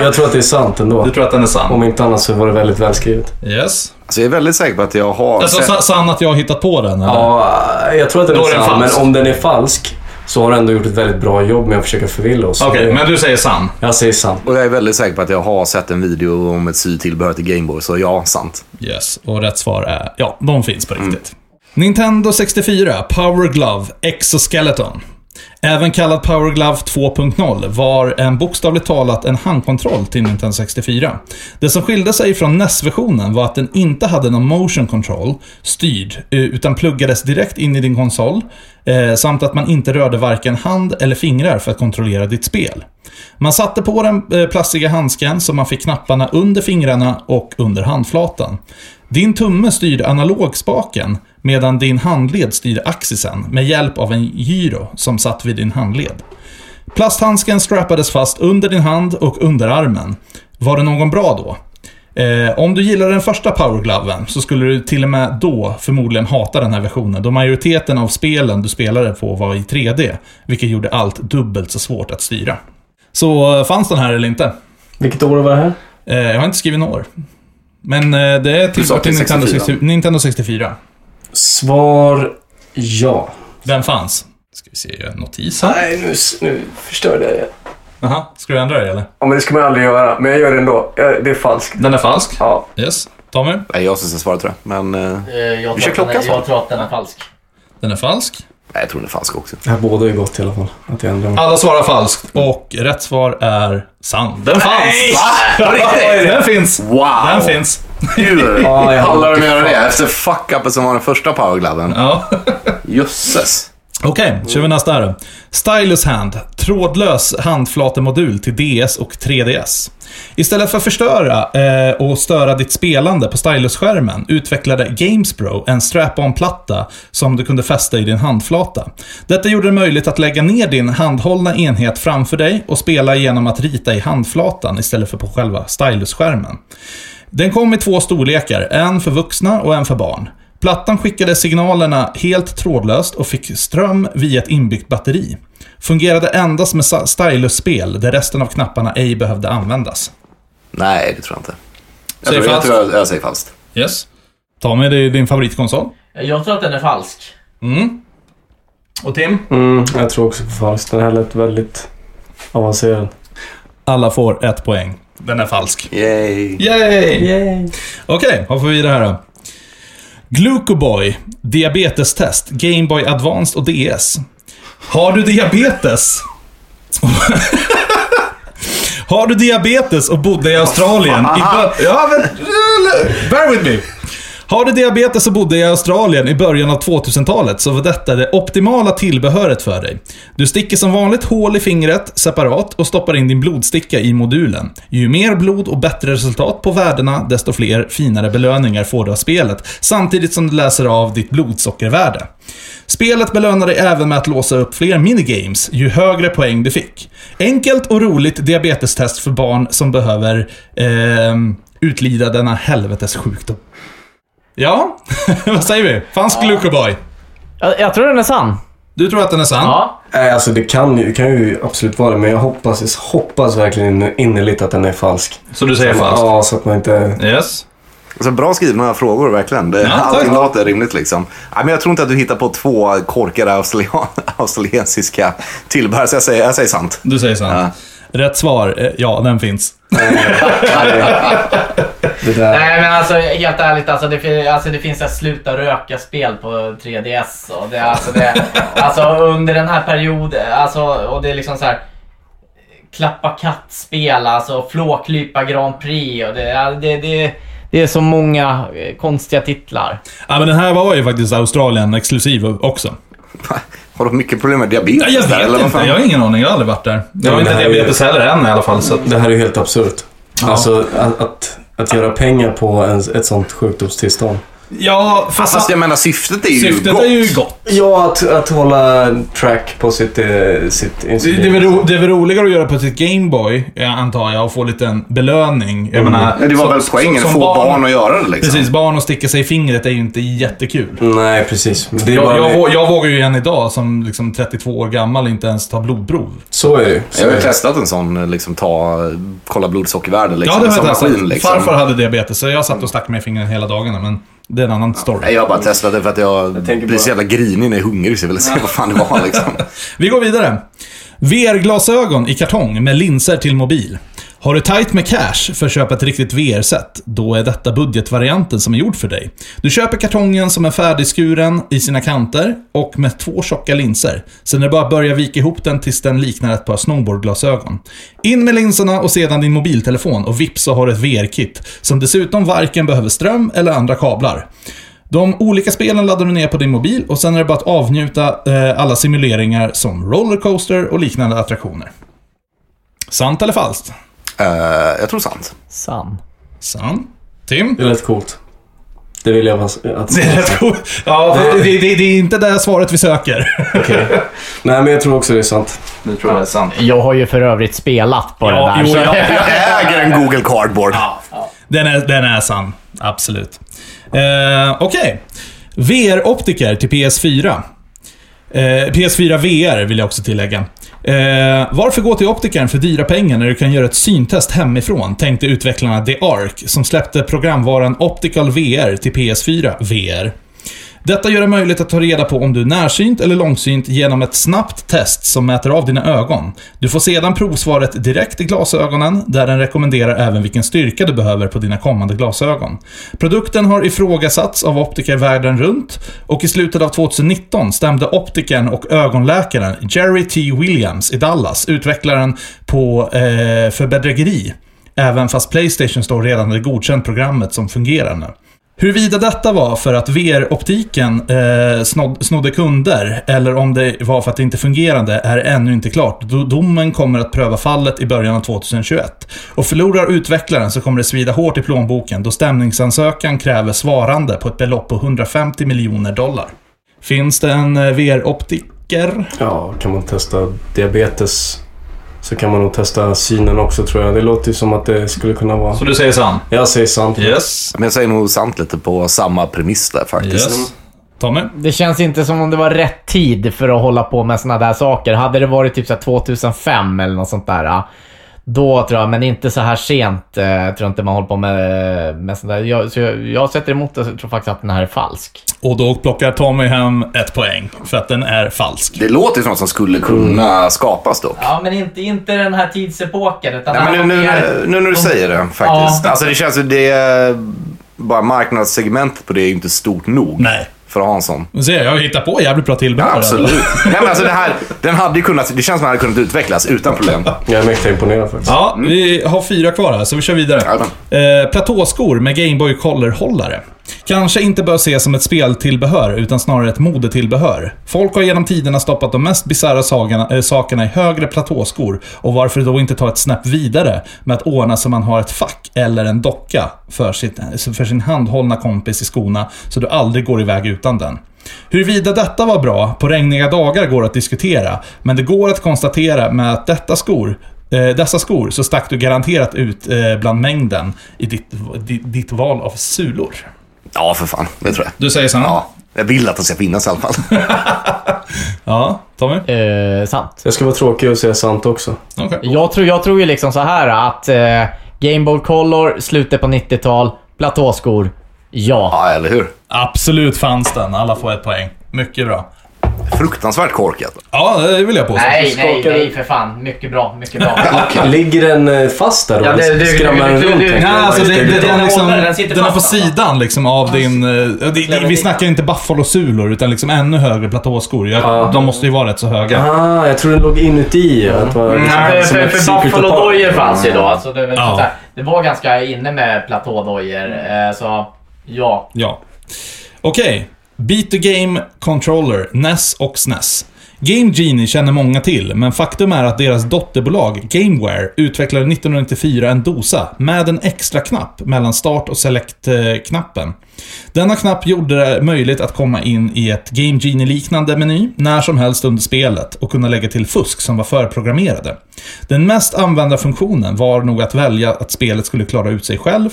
S4: Jag tror att det är sant ändå.
S1: Du tror att den är sann?
S4: Om inte annat så var det väldigt välskrivet.
S1: Yes.
S5: Alltså, jag är väldigt säker på att jag har...
S1: Alltså,
S5: sett-
S1: sa- sann att jag har hittat på den, eller?
S4: Ja, jag tror att den är,
S1: Då är den
S4: sann. Men
S1: falsk.
S4: om den är falsk så har du ändå gjort ett väldigt bra jobb med att försöka förvilla oss.
S1: Okej,
S4: Det-
S1: men du säger sann.
S4: Jag säger sant.
S5: Och jag är väldigt säker på att jag har sett en video om ett sytillbehör till Gameboy, så ja, sant.
S1: Yes, och rätt svar är ja, de finns på riktigt. Nintendo 64 Power Glove Exoskeleton. Även kallad Power Glove 2.0 var en bokstavligt talat en handkontroll till Nintendo 64. Det som skilde sig från NES-versionen var att den inte hade någon motion control styrd, eh, utan pluggades direkt in i din konsol, eh, samt att man inte rörde varken hand eller fingrar för att kontrollera ditt spel. Man satte på den eh, plastiga handsken så man fick knapparna under fingrarna och under handflatan. Din tumme styr analogspaken medan din handled styr axisen med hjälp av en gyro som satt vid din handled. Plasthandsken strappades fast under din hand och underarmen. Var det någon bra då? Eh, om du gillade den första powergloven så skulle du till och med då förmodligen hata den här versionen då majoriteten av spelen du spelade på var i 3D, vilket gjorde allt dubbelt så svårt att styra. Så eh, fanns den här eller inte?
S4: Vilket år var det här?
S1: Eh, jag har inte skrivit några år. Men eh, det är
S5: sa
S1: tillbaka till
S5: till
S1: Nintendo
S5: 64.
S1: 64. Nintendo 64.
S4: Svar ja.
S1: Den fanns. Ska vi se, jag gör en notis här.
S4: Nej, nu, nu förstörde jag det.
S1: Aha, ska du ändra dig eller?
S4: Ja, men det ska man aldrig göra. Men jag gör det ändå. Jag- Det är falskt.
S1: Den är falsk.
S4: Ja.
S1: Yes. Tommy?
S5: Nej, jag syns jag svarar tror jag. Men eh,
S3: jag,
S5: Vi kör
S3: tror
S5: klockan
S3: den är, jag
S5: snart.
S3: tror att den är falsk.
S1: Den är falsk.
S5: nej, jag tror den är falsk också.
S4: Det här båda är gott i alla fall. Att jag ändrar mig.
S1: Alla svarar falskt och rätt svar är sant. Den fanns! Va? Den finns!
S5: Wow!
S1: Den finns.
S5: Hur
S4: Ja, jag har
S5: pallar de göra det? Efter fuck-upet som var den första powergloven.
S1: Ja.
S5: Jösses.
S1: Okej, kör vi nästa här. Stylus Hand, trådlös handflatemodul till DS och 3DS. Istället för att förstöra eh, och störa ditt spelande på Stylus-skärmen utvecklade Gamespro en strap-on-platta som du kunde fästa i din handflata. Detta gjorde det möjligt att lägga ner din handhållna enhet framför dig och spela genom att rita i handflatan istället för på själva Stylus-skärmen. Den kom i två storlekar, en för vuxna och en för barn. Plattan skickade signalerna helt trådlöst och fick ström via ett inbyggt batteri. Fungerade endast med sa- stylus-spel där resten av knapparna ej behövde användas.
S5: Nej, det tror jag inte. Jag,
S1: Säger
S5: tror, jag,
S1: falskt.
S5: tror jag, jag säger falskt.
S1: Yes. Tommy, det är ju din favoritkonsol.
S3: Eh, Jag tror att den är falsk.
S1: Mm. Och Tim?
S4: Mm, jag tror också på falskt. Den här lät väldigt avancerad.
S1: Alla får ett poäng. Den är falsk.
S5: Yay.
S1: Yay!
S4: Yay.
S1: Okej, vad får vi det här då? Glucoboy, diabetestest, Gameboy Advanced och DS. Har du diabetes? Har du diabetes och bodde i Australien i bör- Ja, men... Bear with me. Har du diabetes och bodde i Australien i början av 2000-talet så var detta det optimala tillbehöret för dig. Du sticker som vanligt hål i fingret separat och stoppar in din blodsticka i modulen. Ju mer blod och bättre resultat på värdena, desto fler finare belöningar får du av spelet, samtidigt som du läser av ditt blodsockervärde. Spelet belönar dig även med att låsa upp fler minigames ju högre poäng du fick. Enkelt och roligt diabetestest för barn som behöver ehm, utlida denna helvetes sjukdom. Ja, vad säger vi? Fanns Glucoboy?
S3: Jag, jag tror den är sann.
S1: Du tror att den är sann?
S3: Ja.
S4: Nej, alltså det kan ju, det kan ju absolut vara det. Men jag hoppas, hoppas verkligen innerligt att den är falsk.
S1: Så du säger
S4: Ja, så att man inte...
S1: Yes.
S5: Alltså, bra skrivna här frågor verkligen. Det,
S1: Ja, tack.
S5: allting låter rimligt liksom. Nej, men jag tror inte att du hittar på två korkade australian- australiensiska tillbehör, så jag säger, jag säger sant.
S1: Du säger sant. Rätt svar, eh, ja, den finns.
S4: Det där.
S3: Nej men alltså helt ärligt alltså det, fin- alltså, det finns ett sluta röka-spel på 3DS. Och det, alltså, det, alltså under den här perioden, alltså, och det är liksom så här klappa katt-spel, alltså flåklypa Grand Prix. Och det, ja, det, det, det är så många eh, konstiga titlar.
S1: Ja, men den här var ju faktiskt Australien exklusiv också.
S5: Har du mycket problem med diabetes?
S1: Ja, jag
S5: där,
S1: vet
S5: vad
S1: inte,
S5: fan?
S1: jag har ingen aning. Jag har aldrig varit där. Jag har
S4: men
S1: inte
S4: det här är ju-
S1: diabetes heller än i alla fall. Så att...
S4: Det här är ju helt absurt. Alltså att, att, att göra pengar på en, ett sånt sjukdomstillstånd.
S1: Ja, fast,
S5: Fast jag menar syftet är ju
S1: syftet
S5: gott.
S1: är ju gott.
S4: Ja, att, att hålla track på sitt, eh, sitt
S1: Det,
S4: insulin.
S1: det, är väl ro, det är väl roligare att göra på sitt Gameboy, eh, antar jag, och få en liten belöning. Jag menar,
S5: Ja, Det var
S1: som-
S5: väl poängen,
S1: som
S5: få barn, att göra det liksom.
S1: Precis, barn och sticka sig i fingret är ju inte jättekul.
S4: Nej, precis. Men Det är
S1: Jag,
S4: bara,
S1: jag, vå- jag vågar ju än idag, som liksom 32 år gammal, inte ens ta blodprov.
S4: Så är det ju. Så
S5: Jag
S4: är
S5: har ju
S4: det.
S5: testat en sån, liksom ta, kolla blodsockervärden
S1: Ja,
S5: liksom.
S1: det har
S5: som
S1: jag testat.
S5: maskin, liksom.
S1: Farfar hade diabetes, så jag satt och stack mig i fingret hela dagarna, men det är en annan
S5: Nej,
S1: story.
S5: jag har bara testat det för att jag,
S4: tänker
S5: blir
S4: bara-
S5: så jävla grinig när jag är hungrig så jag vill se vad fan det var liksom.
S1: Vi går vidare. VR-glasögon i kartong med linser till mobil. Har du tight med cash för att köpa ett riktigt VR-set, då är detta budgetvarianten som är gjord för dig. Du köper kartongen som är färdigskuren i sina kanter och med två tjocka linser. Sen är det bara att börja vika ihop den tills den liknar ett par snowboardglasögon. In med linserna och sedan din mobiltelefon och vips så har du ett VR-kit som dessutom varken behöver ström eller andra kablar. De olika spelen laddar du ner på din mobil och sen är det bara att avnjuta eh, alla simuleringar som rollercoaster och liknande attraktioner. Sant eller falskt?
S5: Eh, jag tror sant.
S3: Sann.
S1: Sant. Tim?
S4: Det är rätt coolt. Det vill jag vara- att
S1: Det är rätt coolt. Ja, fast det, det, det är inte det svaret vi söker.
S4: Nej, men jag tror också det är sant.
S2: Nu tror jag det är sant.
S3: Jag har ju för övrigt spelat på
S1: Ja,
S3: det där.
S1: jo,
S3: så-
S1: ja.
S5: Jag äger en Google Cardboard.
S1: Den är, den är sann. Absolut. Eh, Okej. VR-optiker till PS4. Eh, PS4 VR vill jag också tillägga. Eh, varför gå till optikern för dyra pengar när du kan göra ett syntest hemifrån? Tänkte utvecklarna The Ark, som släppte programvaran Optical VR till PS4 VR. Detta gör det möjligt att ta reda på om du är närsynt eller långsynt genom ett snabbt test som mäter av dina ögon. Du får sedan provsvaret direkt i glasögonen, där den rekommenderar även vilken styrka du behöver på dina kommande glasögon. Produkten har ifrågasatts av optiker världen runt och i slutet av 2019 stämde optikern och ögonläkaren Jerry T. Williams i Dallas utvecklaren på, eh, för bedrägeri. Även fast Playstation står redan hade godkänt programmet som fungerar nu. Huruvida detta var för att VR-optiken eh, snod, snodde kunder eller om det var för att det inte fungerade är ännu inte klart. Do- Domen kommer att pröva fallet i början av 2021. Och förlorar utvecklaren så kommer det svida hårt i plånboken då stämningsansökan kräver svarande på ett belopp på 150 miljoner dollar. Finns det en eh, VR-optiker?
S4: Ja, kan man testa diabetes så kan man nog testa synen också tror jag. Det låter ju som att det skulle kunna vara...
S1: du säger sant?
S4: Jag säger sant.
S1: Yes.
S5: Men jag säger nog sant lite på samma premiss där faktiskt.
S1: Yes. Tommy?
S3: Det känns inte som om det var rätt tid för att hålla på med såna där saker. Hade det varit typ så här 2005 eller något sånt där. ja, Då tror jag, men inte så här sent, eh, tror jag inte man håller på med, eh, med sånt där. Jag, så jag, jag sätter emot det och tror faktiskt att den här är falsk.
S1: Och då plockar Tommy hem ett poäng för att den är falsk.
S5: Det låter ju som något som skulle kunna skapas dock.
S3: Ja, men inte, inte den här tidsepoken. Utan
S5: Nej, men nu, nu, nu, nu när du säger det faktiskt. Alltså det känns ju det... är- Bara marknadssegmentet på det är ju inte stort nog.
S1: Nej.
S5: För att ha en sån.
S1: Nu ser jag, jag hittar på jävligt bra tillbehör.
S5: Ja,
S1: här.
S5: absolut. Nej, men alltså det, här, den hade ju kunnat, det känns som att den hade kunnat utvecklas utan problem.
S4: Jag är mäkta imponerad faktiskt.
S1: Ja, vi har fyra kvar här, så vi kör vidare. Eh, platåskor med Gameboy Color-hållare. Kanske inte bör ses som ett speltillbehör, utan snarare ett modetillbehör. Folk har genom tiderna stoppat de mest bisarra sagorna- eh, sakerna i högre platåskor, och varför då inte ta ett snäpp vidare med att ordna så man har ett fack eller en docka för, sitt, eh, för sin handhållna kompis i skorna, så du aldrig går iväg utan den. Huruvida detta var bra på regniga dagar går att diskutera, men det går att konstatera med att detta skor, eh, dessa skor så stack du garanterat ut eh, bland mängden i ditt, di- ditt val av sulor.
S5: Ja, för fan. Det tror jag.
S1: Du säger sant?
S5: Ja, jag vill att den ska finnas i alla fall.
S1: Ja, Tommy?
S3: Eh, sant.
S4: Jag ska vara tråkig och säga sant också.
S1: Okej.
S3: Jag tror, jag tror ju liksom så här att eh, Game Boy Color, slutet på 90-tal, Platåskor. Ja.
S2: Ja, eller hur?
S1: Absolut fanns den. Alla får ett poäng. Mycket bra.
S2: Fruktansvärt korkat.
S1: Ja, det vill jag påstå.
S3: Nej, nej,
S4: skakar-
S3: nej för fan. Mycket bra, mycket bra.
S4: Ligger den eh, fast där då?
S3: Ja, det-
S4: Eller
S3: det-
S4: Skramlar den
S3: det- det-
S4: runt?
S3: det-
S4: lite?
S1: Nej, alltså det, det, den,
S3: Den
S1: är liksom,
S3: håller, den sitter
S1: den är på
S3: fast, alltså.
S1: sidan liksom av din... eh, Det, det, vi snackar inte buffalosulor, utan liksom ännu högre platåskor. Jag, De måste ju vara rätt så höga.
S4: Ah, jag tror den låg inuti. Att vara, liksom
S3: För,
S4: som
S3: Mm. för,
S4: ett
S3: för
S4: secret
S3: Buffalo
S4: apart.
S3: Dojer fanns ju då. Alltså det, var
S1: Ja.
S3: såhär, det var ganska inne med platådojor. Eh, så ja.
S1: Ja. Okej. Beat the Game Controller, NES och SNES. Game Genie känner många till, men faktum är att deras dotterbolag Gameware utvecklade 1994 en dosa med en extra knapp mellan start och eh, select-knappen. Denna knapp gjorde det möjligt att komma in i ett Game Genie-liknande meny när som helst under spelet och kunna lägga till fusk som var förprogrammerade. Den mest använda funktionen var nog att välja att spelet skulle klara ut sig själv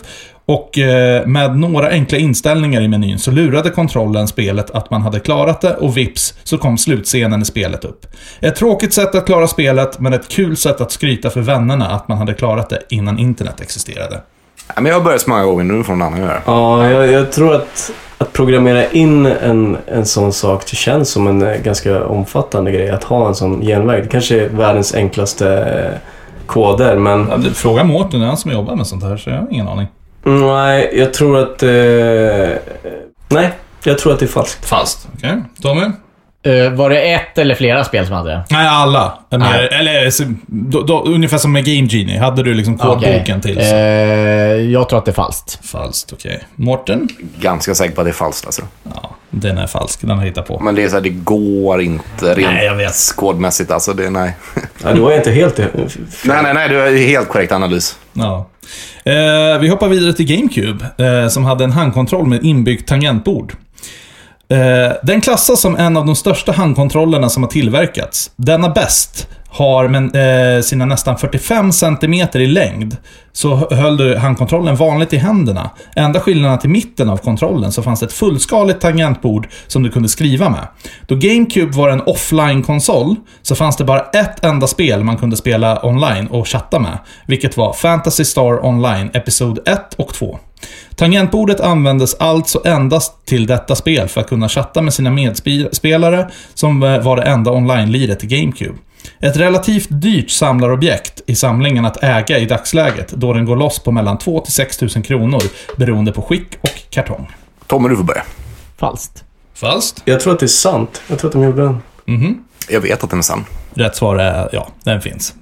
S1: och eh, med några enkla inställningar i menyn så lurade kontrollen spelet att man hade klarat det och vips så kom slutscenen i spelet upp. Ett tråkigt sätt att klara spelet, men ett kul sätt att skryta för vännerna att man hade klarat det innan internet existerade.
S2: Ja, men jag har börjat så många gånger, nu får någon annan göra det.
S4: Ja, jag, jag tror att, att programmera in en, en sån sak det känns som en eh, ganska omfattande grej. Att ha en sån genväg. Det kanske är världens enklaste eh, koder, men
S1: Ja, det- Fråga Mårten, det är han som jobbar med sånt här, så jag har ingen aning.
S4: mm, nej, jag tror att... Eh, nej, jag tror att det är falskt.
S1: Fast. Okej. Tommy?
S3: Eh, var det ett eller flera spel som hade det?
S1: Nej, alla. Mer,
S3: Nej.
S1: Eller så- då, då, ungefär som med Game Genie. Hade du liksom
S3: Okej.
S1: kodboken till?
S3: Eh,
S1: Så.
S3: jag tror att det är falskt.
S1: Falskt, okej. Mårten?
S2: Ganska säker på att det är falskt alltså.
S1: Ja, den är falsk. Den har jag hittat på.
S2: Men det är så här, det går inte rent
S1: Nej, jag vet.
S2: skådmässigt. Alltså, det, nej.
S4: Ja, då är jag inte helt...
S2: nej, nej, nej. Du har ju helt korrekt analys.
S1: Ja. Eh, vi hoppar vidare till GameCube, eh, som hade en handkontroll med inbyggt tangentbord. Eh, den klassas som en av de största handkontrollerna som har tillverkats. Denna bäst har men, eh, sina nästan 45 cm i längd, så hö- höll du handkontrollen vanligt i händerna. Enda skillnaden till mitten av kontrollen så fanns det ett fullskaligt tangentbord som du kunde skriva med. Då GameCube var en offline-konsol så fanns det bara ett enda spel man kunde spela online och chatta med, vilket var Fantasy Star Online Episod 1 och 2. Tangentbordet användes alltså endast till detta spel för att kunna chatta med sina medspelare, som eh, var det enda online-liret i GameCube. Ett relativt dyrt samlarobjekt i samlingen att äga i dagsläget, då den går loss på mellan 2 till 6 000 kronor beroende på skick och kartong.
S2: Tommy, du får börja.
S3: Falskt.
S1: Falskt.
S4: Jag tror att det är sant. Jag tror att de gjorde den.
S2: Jag vet att den är sann.
S1: Rätt svar är ja, den finns.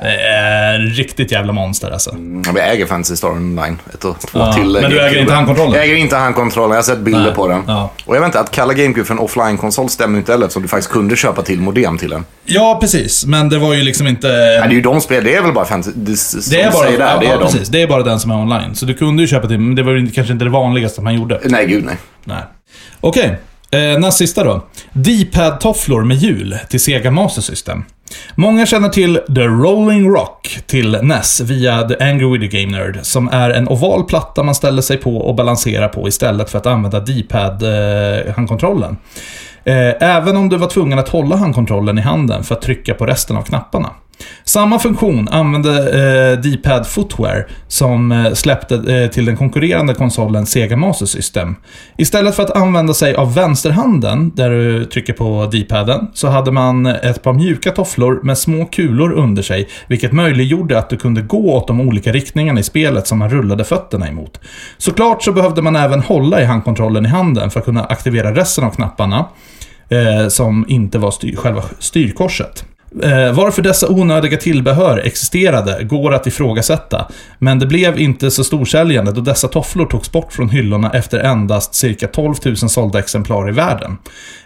S1: Det är riktigt jävla monster alltså.
S2: Mm, Vi äger Fantasy Star Online. Ett och två
S1: Ja,
S2: till. eh,
S1: men du äger
S2: GameCube.
S1: inte handkontrollen?
S2: Jag äger inte handkontrollen. Jag har sett bilder
S1: Nej,
S2: på den.
S1: ja.
S2: Och jag vet inte, att kalla GameCube för en offline-konsol stämmer ju inte heller eftersom du faktiskt kunde köpa till modem till den.
S1: Ja, precis. Men det var ju liksom inte...
S2: Nej, det är ju de spel, det är väl bara Fantasy... Det, som
S1: Det är,
S2: du
S1: bara,
S2: säger där,
S1: ja,
S2: det
S1: ja,
S2: är de.
S1: precis, det är bara den som är online. Så du kunde ju köpa till, men det var ju kanske inte det vanligaste man gjorde.
S2: Nej, gud nej.
S1: Nej. Okej, eh, näst sista då. D-pad-tofflor med hjul till Sega Master System. Många känner till The Rolling Rock till NES via The Angry Video Game Nerd, som är en oval platta man ställer sig på och balanserar på istället för att använda D-pad-handkontrollen. Eh, även om du var tvungen att hålla handkontrollen i handen för att trycka på resten av knapparna. Samma funktion använde eh, D-pad Footwear som eh, släppte eh, till den konkurrerande konsolen Sega Master System. Istället för att använda sig av vänsterhanden, där du trycker på D-paden, så hade man ett par mjuka tofflor med små kulor under sig, vilket möjliggjorde att du kunde gå åt de olika riktningarna i spelet som man rullade fötterna emot. Såklart så behövde man även hålla i handkontrollen i handen för att kunna aktivera resten av knapparna eh, som inte var styr, själva styrkorset. Eh, varför dessa onödiga tillbehör existerade går att ifrågasätta, men det blev inte så storsäljande då dessa tofflor togs bort från hyllorna efter endast cirka 12 000 sålda exemplar i världen.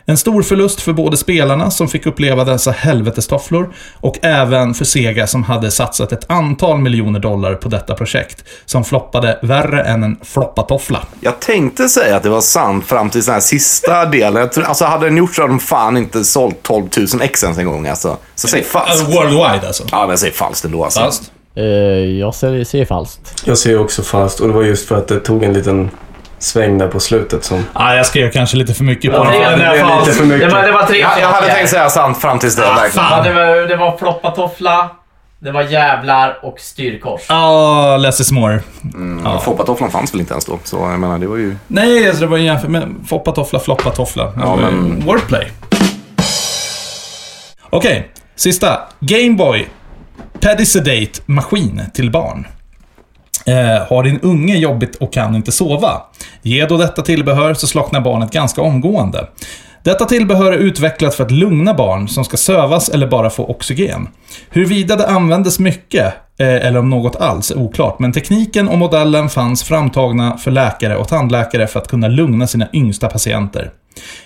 S1: En stor förlust för både spelarna som fick uppleva dessa helvetestofflor och även för Sega som hade satsat ett antal miljoner dollar på detta projekt, som floppade värre än en floppatoffla.
S2: Jag tänkte säga att det var sant fram till den här sista delen. Jag tror, alltså hade den gjort så hade de fan inte sålt 12 000 ex ens en gång alltså. Så säg falskt.
S1: Worldwide alltså.
S2: Ja, men säg falskt ändå alltså.
S1: Fast.
S3: Eh, jag säger, säger falskt.
S4: Jag ser också falskt och det var just för att det tog en liten sväng där på slutet som...
S1: Ah, jag skrev kanske lite för mycket på den.
S4: det blev lite för mycket.
S3: Det var, det var tre
S2: Jag, jag hade
S3: saker.
S2: tänkt säga sant fram tills det. verkligen.
S1: fan.
S3: Ja, det, var, det var floppatoffla, Det var jävlar och styrkors.
S1: Ah, less is more.
S5: Ja. Foppatofflan fanns väl inte ens då, så jag menar det var ju...
S1: Nej, alltså det var ju jämför med foppatoffla, floppatoffla. Ja,
S5: men-
S1: Wordplay. Okej, sista. Gameboy. Paddy Sedate maskin till barn. Eh, har din unge jobbigt och kan inte sova? Ge då detta tillbehör så slocknar barnet ganska omgående. Detta tillbehör är utvecklat för att lugna barn som ska sövas eller bara få oxygen. Huruvida det användes mycket, eh, eller om något alls, är oklart. Men tekniken och modellen fanns framtagna för läkare och tandläkare för att kunna lugna sina yngsta patienter.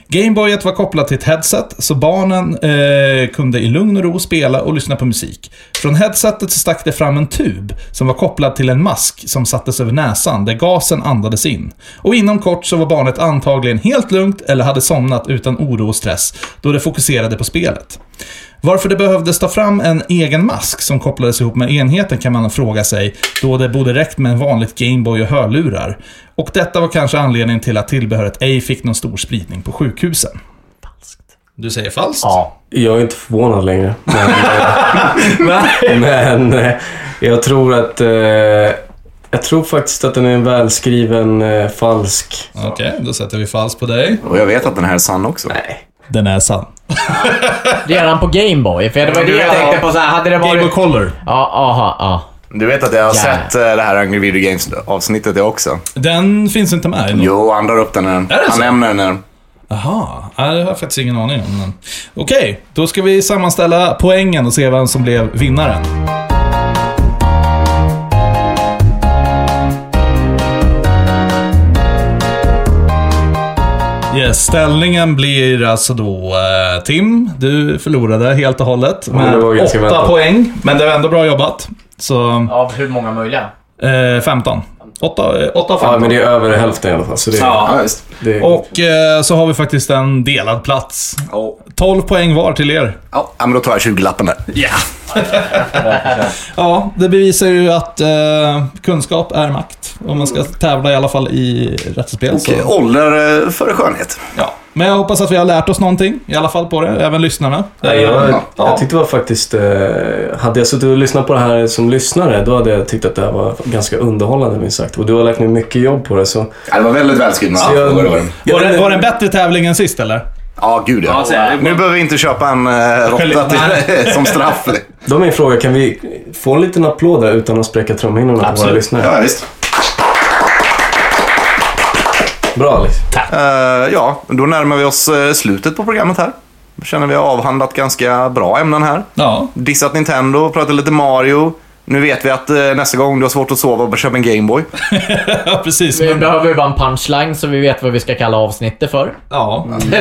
S1: Gameboyet var kopplat till ett headset, så barnen eh, kunde i lugn och ro spela och lyssna på musik. Från headsetet så stack det fram en tub som var kopplad till en mask som sattes över näsan, där gasen andades in. Och inom kort så var barnet antagligen helt lugnt eller hade somnat utan oro och stress, då det fokuserade på spelet. Varför det behövdes ta fram en egen mask som kopplades ihop med enheten kan man fråga sig, då det borde räckt med en vanligt Gameboy och hörlurar. Och detta var kanske anledningen till att tillbehöret ej fick någon stor spridning på sjukhusen. Falskt. Du säger falskt?
S3: Ja.
S4: Jag är inte förvånad längre. Men, eh, men eh, jag tror att... Eh, jag tror faktiskt att den är en välskriven eh, falsk...
S1: Okej, då sätter vi falskt på dig.
S5: Och jag vet att den här är sann också.
S1: Den är sann.
S3: Redan på Gameboy. För det var det jag tänkte på så här, hade det
S1: Gameboy
S3: varit...
S1: Color.
S3: Ja, aha, ja.
S5: Du vet att jag har
S3: Ja.
S5: sett eh, det här Angry Video Games-avsnittet jag också.
S1: Den finns inte med. i någon-
S5: Jo, han drar upp den här.
S1: det
S5: Han
S1: så?
S5: nämner den här.
S1: Jaha, ja, det har jag faktiskt ingen aning om. Men... Okej, då ska vi sammanställa poängen och se vem som blev vinnaren. Yes, ställningen blir alltså då eh, Tim, du förlorade helt och hållet
S4: men
S1: med
S4: det var ganska
S1: åtta
S4: väntat.
S1: poäng. Men det var ändå bra jobbat. Så
S3: Av hur många möjliga?
S1: eh, 15. 8, 8 av 15.
S4: Ja, men det är över hälften i alla fall. Så det,
S5: Ja, visst.
S4: det,
S1: Och eh, så har vi faktiskt en delad plats.
S5: Ja.
S1: 12 poäng var till er.
S5: Ja, men då tar jag 20-lappen där.
S1: Ja, det bevisar ju att eh, kunskap är makt. Om man ska tävla i alla fall i rättsspel.
S5: Och eh,
S1: Så,
S5: ålder eh, före skönhet.
S1: ja. Men jag hoppas att vi har lärt oss någonting i alla fall på det, även lyssnarna.
S4: Nej, jag,
S1: Ja.
S4: jag tyckte det var faktiskt... Eh, hade jag suttit och lyssnat på det här som lyssnare, då hade jag tyckt att det här var ganska underhållande minst sagt. Och du har lagt ner mycket jobb på det, så...
S5: Ja, det var väldigt välskrivna.
S4: så
S5: Ja, det var det, var det.
S1: Var det, var det en bättre tävling än sist eller?
S5: ja gud ja. Nu behöver vi inte köpa en eh, råtta till, som straff.
S4: Då är min fråga, kan vi få en liten applåd där utan att spräcka trumhinnorna på våra
S1: Absolut.
S4: lyssnare?
S5: Ja, visst.
S4: Bra Alex.
S5: Eh, ja, då närmar vi oss eh, slutet på programmet här. Känner vi har avhandlat ganska bra ämnen här.
S1: Ja.
S5: Dissat Nintendo, pratat lite Mario. Nu vet vi att eh, nästa gång du har svårt att sova, bara köp en Gameboy.
S1: Ja, precis.
S3: Vi
S1: Men,
S3: behöver ju bara en punchline så vi vet vad vi ska kalla avsnittet för.
S1: ja.
S5: Vi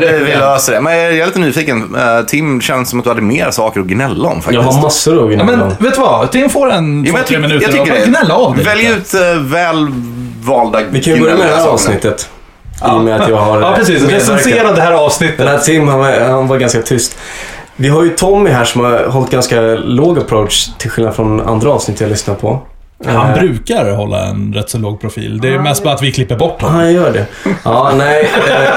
S5: vi löser det. Men jag är lite nyfiken. Eh, Tim, det känns som att du hade mer saker att gnälla om
S4: Jag
S5: faktiskt.
S4: har massor att
S1: ja.
S4: gnälla
S1: Men
S4: om.
S1: vet du vad? Tim får en
S5: Jo, men
S1: två,
S5: jag
S1: tre
S5: tyck-
S1: minuter.
S5: jag tycker
S1: Bara
S5: det.
S1: Gnälla av dig.
S5: Välj
S1: lite.
S5: ut eh, väl valda
S4: Vi kan ju börja med det här
S5: saker.
S4: avsnittet. I och med att jag har
S1: Ja, precis.
S4: medverkat.
S1: Recensera det här
S4: Den
S1: avsnittet.
S4: här Tim, han var, han var ganska tyst. Vi har ju Tommy här som har hållit ganska låg approach till skillnad från andra avsnitt jag lyssnar på.
S1: Han brukar hålla en rätt så låg profil. Det är mest bara att vi klipper bort
S4: Ja,
S1: honom.
S4: Han gör det. Ja, nej. eh,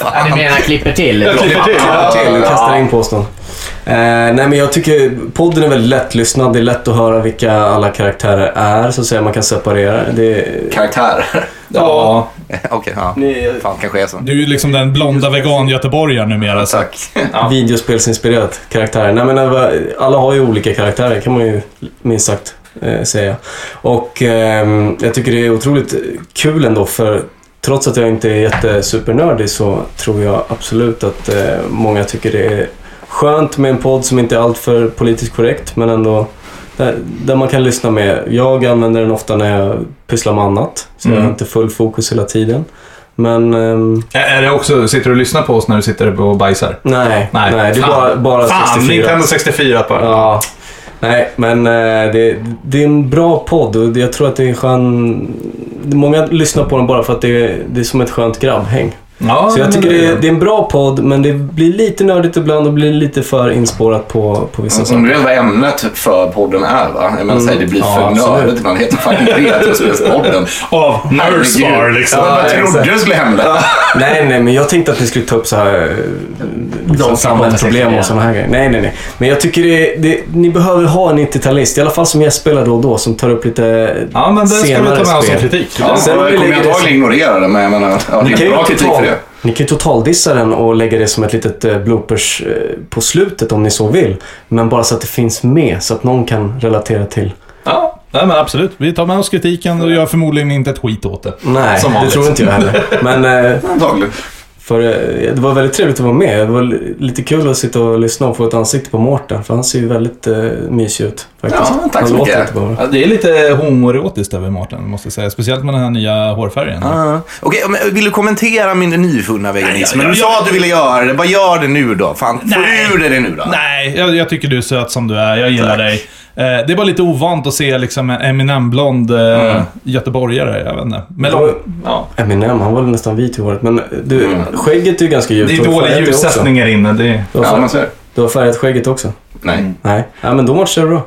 S3: Ja, ni menar klipper till?
S1: klipper till.
S4: Ja, till. Du kastar in påståenden. Eh, nej men jag tycker podden är väldigt lättlyssnad. Det är lätt att höra vilka alla karaktärer är, så att säga. Man kan separera. Det,
S5: Karaktär.
S1: Ja.
S5: Okej, ja. Fan, kanske är så.
S1: Du är ju liksom den blonda vegan-göteborgaren numera. Så.
S5: Tack.
S4: videospelsinspirerat karaktär. Nej, men över- alla har ju olika karaktärer kan man ju minst sagt eh, säga. Och ehm, jag tycker det är otroligt kul ändå för trots att jag inte är jättesupernördig så tror jag absolut att eh, många tycker det är skönt med en podd som inte är alltför politiskt korrekt men ändå där, där man kan lyssna med. Jag använder den ofta när jag pysslar med annat så jag
S1: Mm.
S4: har inte full fokus hela tiden. Men ehm,
S1: Är det också, sitter du och lyssnar på oss när du sitter och bajsar?
S4: nej, nej,
S1: Nej,
S4: det är
S1: fan.
S4: bara, bara
S1: Fan,
S4: 64.
S1: Nintendo 64 på
S4: Ja. Nej, men eh, det, det är en bra podd och jag tror att det är en skön... Många lyssnar på den bara för att det är, det är som ett skönt grabbhäng.
S1: Ja,
S4: Så jag
S1: men
S4: tycker det är,
S1: det-
S4: det är en bra podd, men det blir lite nördigt ibland och blir lite för inspårat på, på
S1: Alltså,
S4: vissa
S5: Som
S4: saker.
S5: du vet vad ämnet för podden är va? Jag menar, säg, det blir för
S2: Mm.
S4: absolut.
S5: nördigt. Man heter fucking Retrospelspodden.
S1: Av Nursar
S5: Herregud.
S1: liksom.
S5: Ja, vad
S4: exakt.
S5: trodde du skulle hända?
S4: Nej, nej, men jag tänkte att vi skulle ta upp så här eh, liksom, samhällsproblem och såna här grejer. Nej, nej, nej. Men jag tycker det, det, ni behöver ha en 90-talist, i alla fall som gästspelare då och då, som tar upp lite
S1: Ja, men det ska vi ta med
S4: senare
S1: oss som
S4: spel.
S1: kritik.
S5: Ja,
S4: Sen
S5: jag
S4: vi
S5: kommer
S4: lägger det-
S5: antagligen ignorera det, men jag menar, ja, Alltså, det
S4: Ni
S5: är
S4: kan,
S5: en
S4: ju
S5: bra kritik
S4: total,
S5: för det.
S4: ni kan ju totaldissa den och lägga det som ett litet eh, bloopers eh, på slutet om ni så vill. Men bara så att det finns med, så att någon kan relatera till.
S1: Ja, nej, men absolut. Vi tar med oss kritiken och gör förmodligen inte ett skit åt det.
S4: Nej,
S1: Som
S4: det
S1: vanligt.
S4: tror inte jag heller. Men eh,
S5: Antagligen.
S4: för, eh, det var väldigt trevligt att vara med. Det var li- lite kul att sitta och lyssna och få ett ansikte på Mårten, för han ser ju väldigt eh, mysig ut. Faktiskt.
S5: Ja, tack
S4: han
S5: så mycket.
S4: låter inte bara.
S1: Ja, det är lite homoerotiskt över Martin, måste jag säga. Speciellt med den här nya hårfärgen.
S4: Ah.
S2: Ja. Ah, Okej, men vill du kommentera min nyfunna veganism?
S1: Ja,
S2: Men
S1: ja,
S2: du
S1: ja,
S2: sa att du ville göra det. Vad gör det nu då? Fan, få
S1: Nej.
S2: ur dig det nu då.
S1: Nej, jag, jag tycker du är söt som du är. Jag gillar dig. Eh, det är bara lite ovant att se liksom en Eminem-blond eh,
S4: Mm.
S1: göteborgare. Jag vet inte. Men,
S4: Ja.
S1: ja.
S4: Eminem, han var väl nästan vit i håret. Men eh, du,
S5: Mm.
S4: skägget är ju ganska ljust.
S1: Det är
S4: och du har
S1: dålig
S4: färgat det också.
S1: ljussättning här inne. Det är...
S4: Du har,
S5: Ja,
S4: färgat,
S5: man ser det.
S4: du har färgat skägget också?
S2: Mm.
S5: Nej.
S4: Nej. Ja, men då matchar det bra.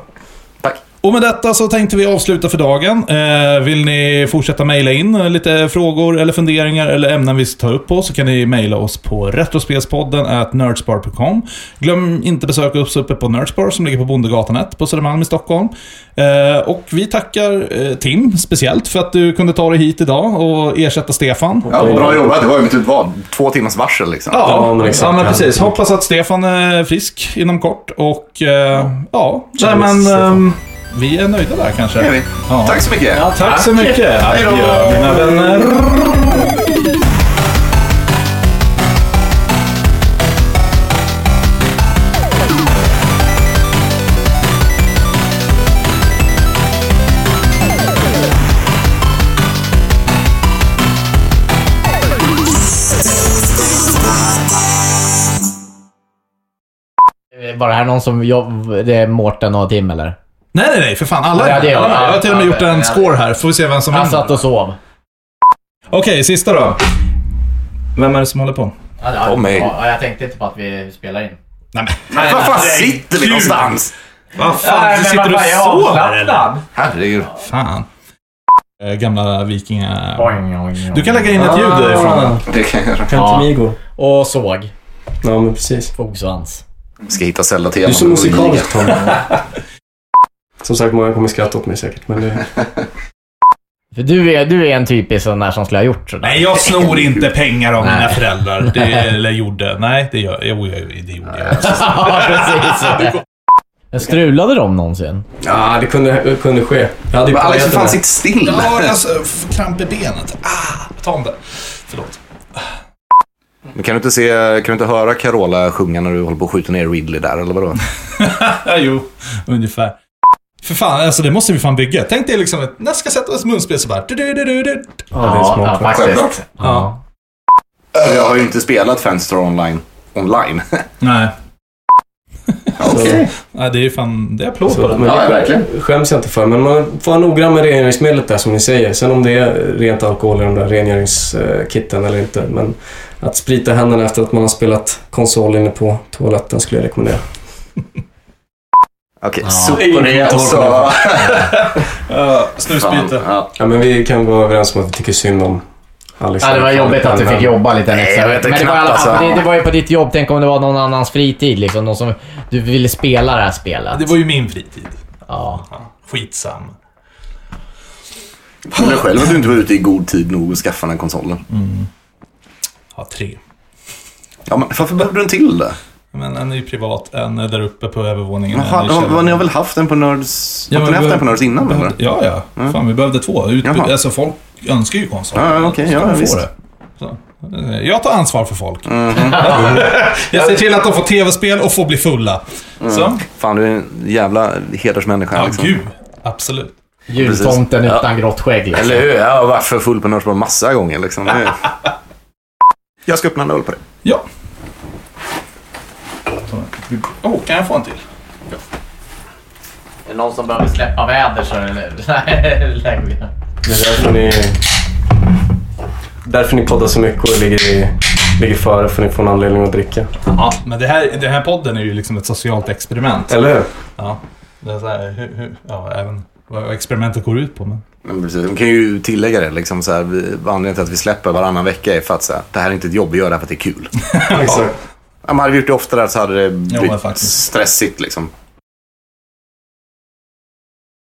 S1: Och med detta så tänkte vi avsluta för dagen. Eh, vill ni fortsätta mejla in eh, lite frågor eller funderingar eller ämnen vi ska ta upp på så kan ni mejla oss på retrospelspodden at nerdspar.com. Glöm inte besöka oss uppe på Nerdspar som ligger på Bondegatan 1 på Södermalm i Stockholm. Eh, och vi tackar eh, Tim speciellt för att du kunde ta dig hit idag och ersätta Stefan.
S5: Ja, bra
S2: Mm.
S5: jobbat. Det var ju mitt utval. Två timmars varsel liksom.
S1: Ja,
S4: Ja, men
S1: men,
S4: exakt.
S1: ja, men precis. Hoppas att Stefan är frisk inom kort. Och eh, ja, Nej,
S4: Cheers,
S1: men
S4: Stefan.
S1: ehm, vi är nöjda där kanske.
S5: Det är vi.
S1: Ja.
S5: Tack så mycket.
S1: Ja, tack så mycket. Adjö, mina vänner.
S3: Var det här någon som jobb... Det är Mårten och Tim eller?
S1: Nej, nej, nej. För fan. Alla
S3: Ja,
S1: är
S3: det
S1: med.
S3: är-
S1: Alla är med. Jag har till och med
S3: ja,
S1: gjort en
S3: ja,
S1: score här. Får vi se vem som
S3: Han
S1: vinner.
S3: satt och sov.
S1: Okej, sista då. Vem är det som håller på?
S3: Ja, ja,
S2: Tommy.
S3: ja, jag tänkte inte på att vi spelar in.
S1: Nej, men.
S5: Var fan sitter vi någonstans?
S1: Vad fan, du sitter och sover eller?
S5: Herregud.
S1: Fan. Eh, Gamla vikingar...
S3: eller?
S1: Du kan lägga in ett ljud ifrån den.
S5: Det kan jag göra.
S4: Pentamigo.
S3: Och såg.
S4: Ja, men precis.
S3: Fogsvans.
S5: Ska hitta Zelda-teman.
S4: Du är så musikalisk Tom. Som sagt, många kommer skratta åt mig säkert. Men det...
S3: För du är, du är en typisk sån där som skulle ha gjort sådär.
S1: Nej, jag snor inte pengar av mina föräldrar. Det, eller gjorde. Nej, det gör jag. Jo, jag- det gjorde jag.
S3: Ja, precis. Men strulade de någonsin?
S4: Ja, det kunde, kunde ske. Jag hade ju
S5: Men
S4: påbörjat
S5: Alex, för
S4: det
S5: fan
S4: där.
S5: sitt still.
S1: Ja, alltså, f- kramp i benet. Ah, ta om det. Förlåt.
S2: Men kan du inte, se, kan du inte höra Carola sjunga när du håller på att skjuta ner Ridley där, eller vadå?
S1: Ja, jo, ungefär. För fan, alltså det måste vi fan bygga. Tänk dig liksom ett, när jag ska sätta oss munspel så bara... Du, du, du, du, du.
S4: Ja, det är
S3: ja
S4: smart.
S5: Självklart.
S3: faktiskt.
S1: Ja.
S5: Jag har ju inte spelat Fanstar online. Online?
S1: Nej.
S5: Okej.
S1: Nej, det är ju fan... Det är applåd på
S4: Så,
S1: det.
S4: men
S5: Ja, verkligen.
S4: det skäms jag inte för. Men man får vara noggrann med rengöringsmedlet där som ni säger. Sen om det är rent alkohol i de där rengöringskitten eller inte. Men att sprita händerna efter att man har spelat konsol inne på toaletten skulle jag rekommendera.
S5: Okej,
S3: Ja.
S5: super och så...
S4: Fan.
S1: Uh, snusbyte.
S5: Ja.
S4: Ja, men vi kan vara överens om att vi tycker synd om Alex.
S3: Ja, det var jobbigt att du fick jobba lite
S5: Nej,
S3: extra.
S5: jag vet inte
S3: Men det var, i alla
S5: knappt,
S3: fall-
S5: alltså.
S3: det, det var ju på ditt jobb. Tänk om det var någon annans fritid liksom. Någon som, du ville spela det här spelet.
S1: Det var ju min fritid.
S3: Ja.
S1: Ja, Skitsam.
S5: Men själv att du inte var ute i god tid nog att skaffa den här konsolen.
S1: Mm. Ja, tre.
S5: Ja, men varför behövde du en till då?
S1: Men en är ju privat, en är där uppe på övervåningen.
S5: Jaha,
S1: en är i
S5: ja,
S1: källaren.
S5: men ni har väl haft den på Nörds...
S1: Ja,
S5: har
S1: men
S5: ni
S1: vi
S5: haft den
S1: behöv-
S5: på Nörds innan
S1: behövde,
S5: eller? Mm.
S1: Ja, ja. Fan, vi behövde två. Utbud,
S5: Jaha.
S1: alltså, folk önskar ju konsoler.
S5: Ja, ja, okej,
S1: Så
S5: ja,
S1: de får
S5: visst.
S1: det. Så. eh, Jag tar ansvar för folk.
S5: Mm.
S1: jag ser till att de får tv-spel och får bli fulla. Så.
S5: Fan, du är en jävla hedersmänniska.
S1: Ja,
S5: Mm. liksom.
S1: gud. Absolut.
S3: Jultomten utan grått skägg liksom.
S5: Eller hur? Jag har varit för full på Nördsborg massa gånger. Liksom. Det är- jag ska öppna en öl på dig.
S1: Ja. Åh, Oh, kan jag få en till?
S3: Är det någon som behöver släppa väder så är det nu. Nej, lägg ner.
S4: Det är därför ni... Därför ni poddar så mycket och ligger, i, ligger före för ni får en anledning att dricka.
S1: Ja, men det här, den här podden är ju liksom ett socialt experiment.
S4: Eller hur?
S1: Ja, det är så här, hur, hur, ja även vad experimentet går ut på. Men...
S2: Men precis, de kan ju tillägga det. Liksom så här, vi, anledningen till att vi släpper varannan vecka är för att så här, det här är inte ett jobb, vi gör det här för att det är kul.
S4: Exakt.
S2: Ja, man hade vi gjort det oftare så hade det blivit
S1: men faktiskt.
S2: stressigt. Liksom.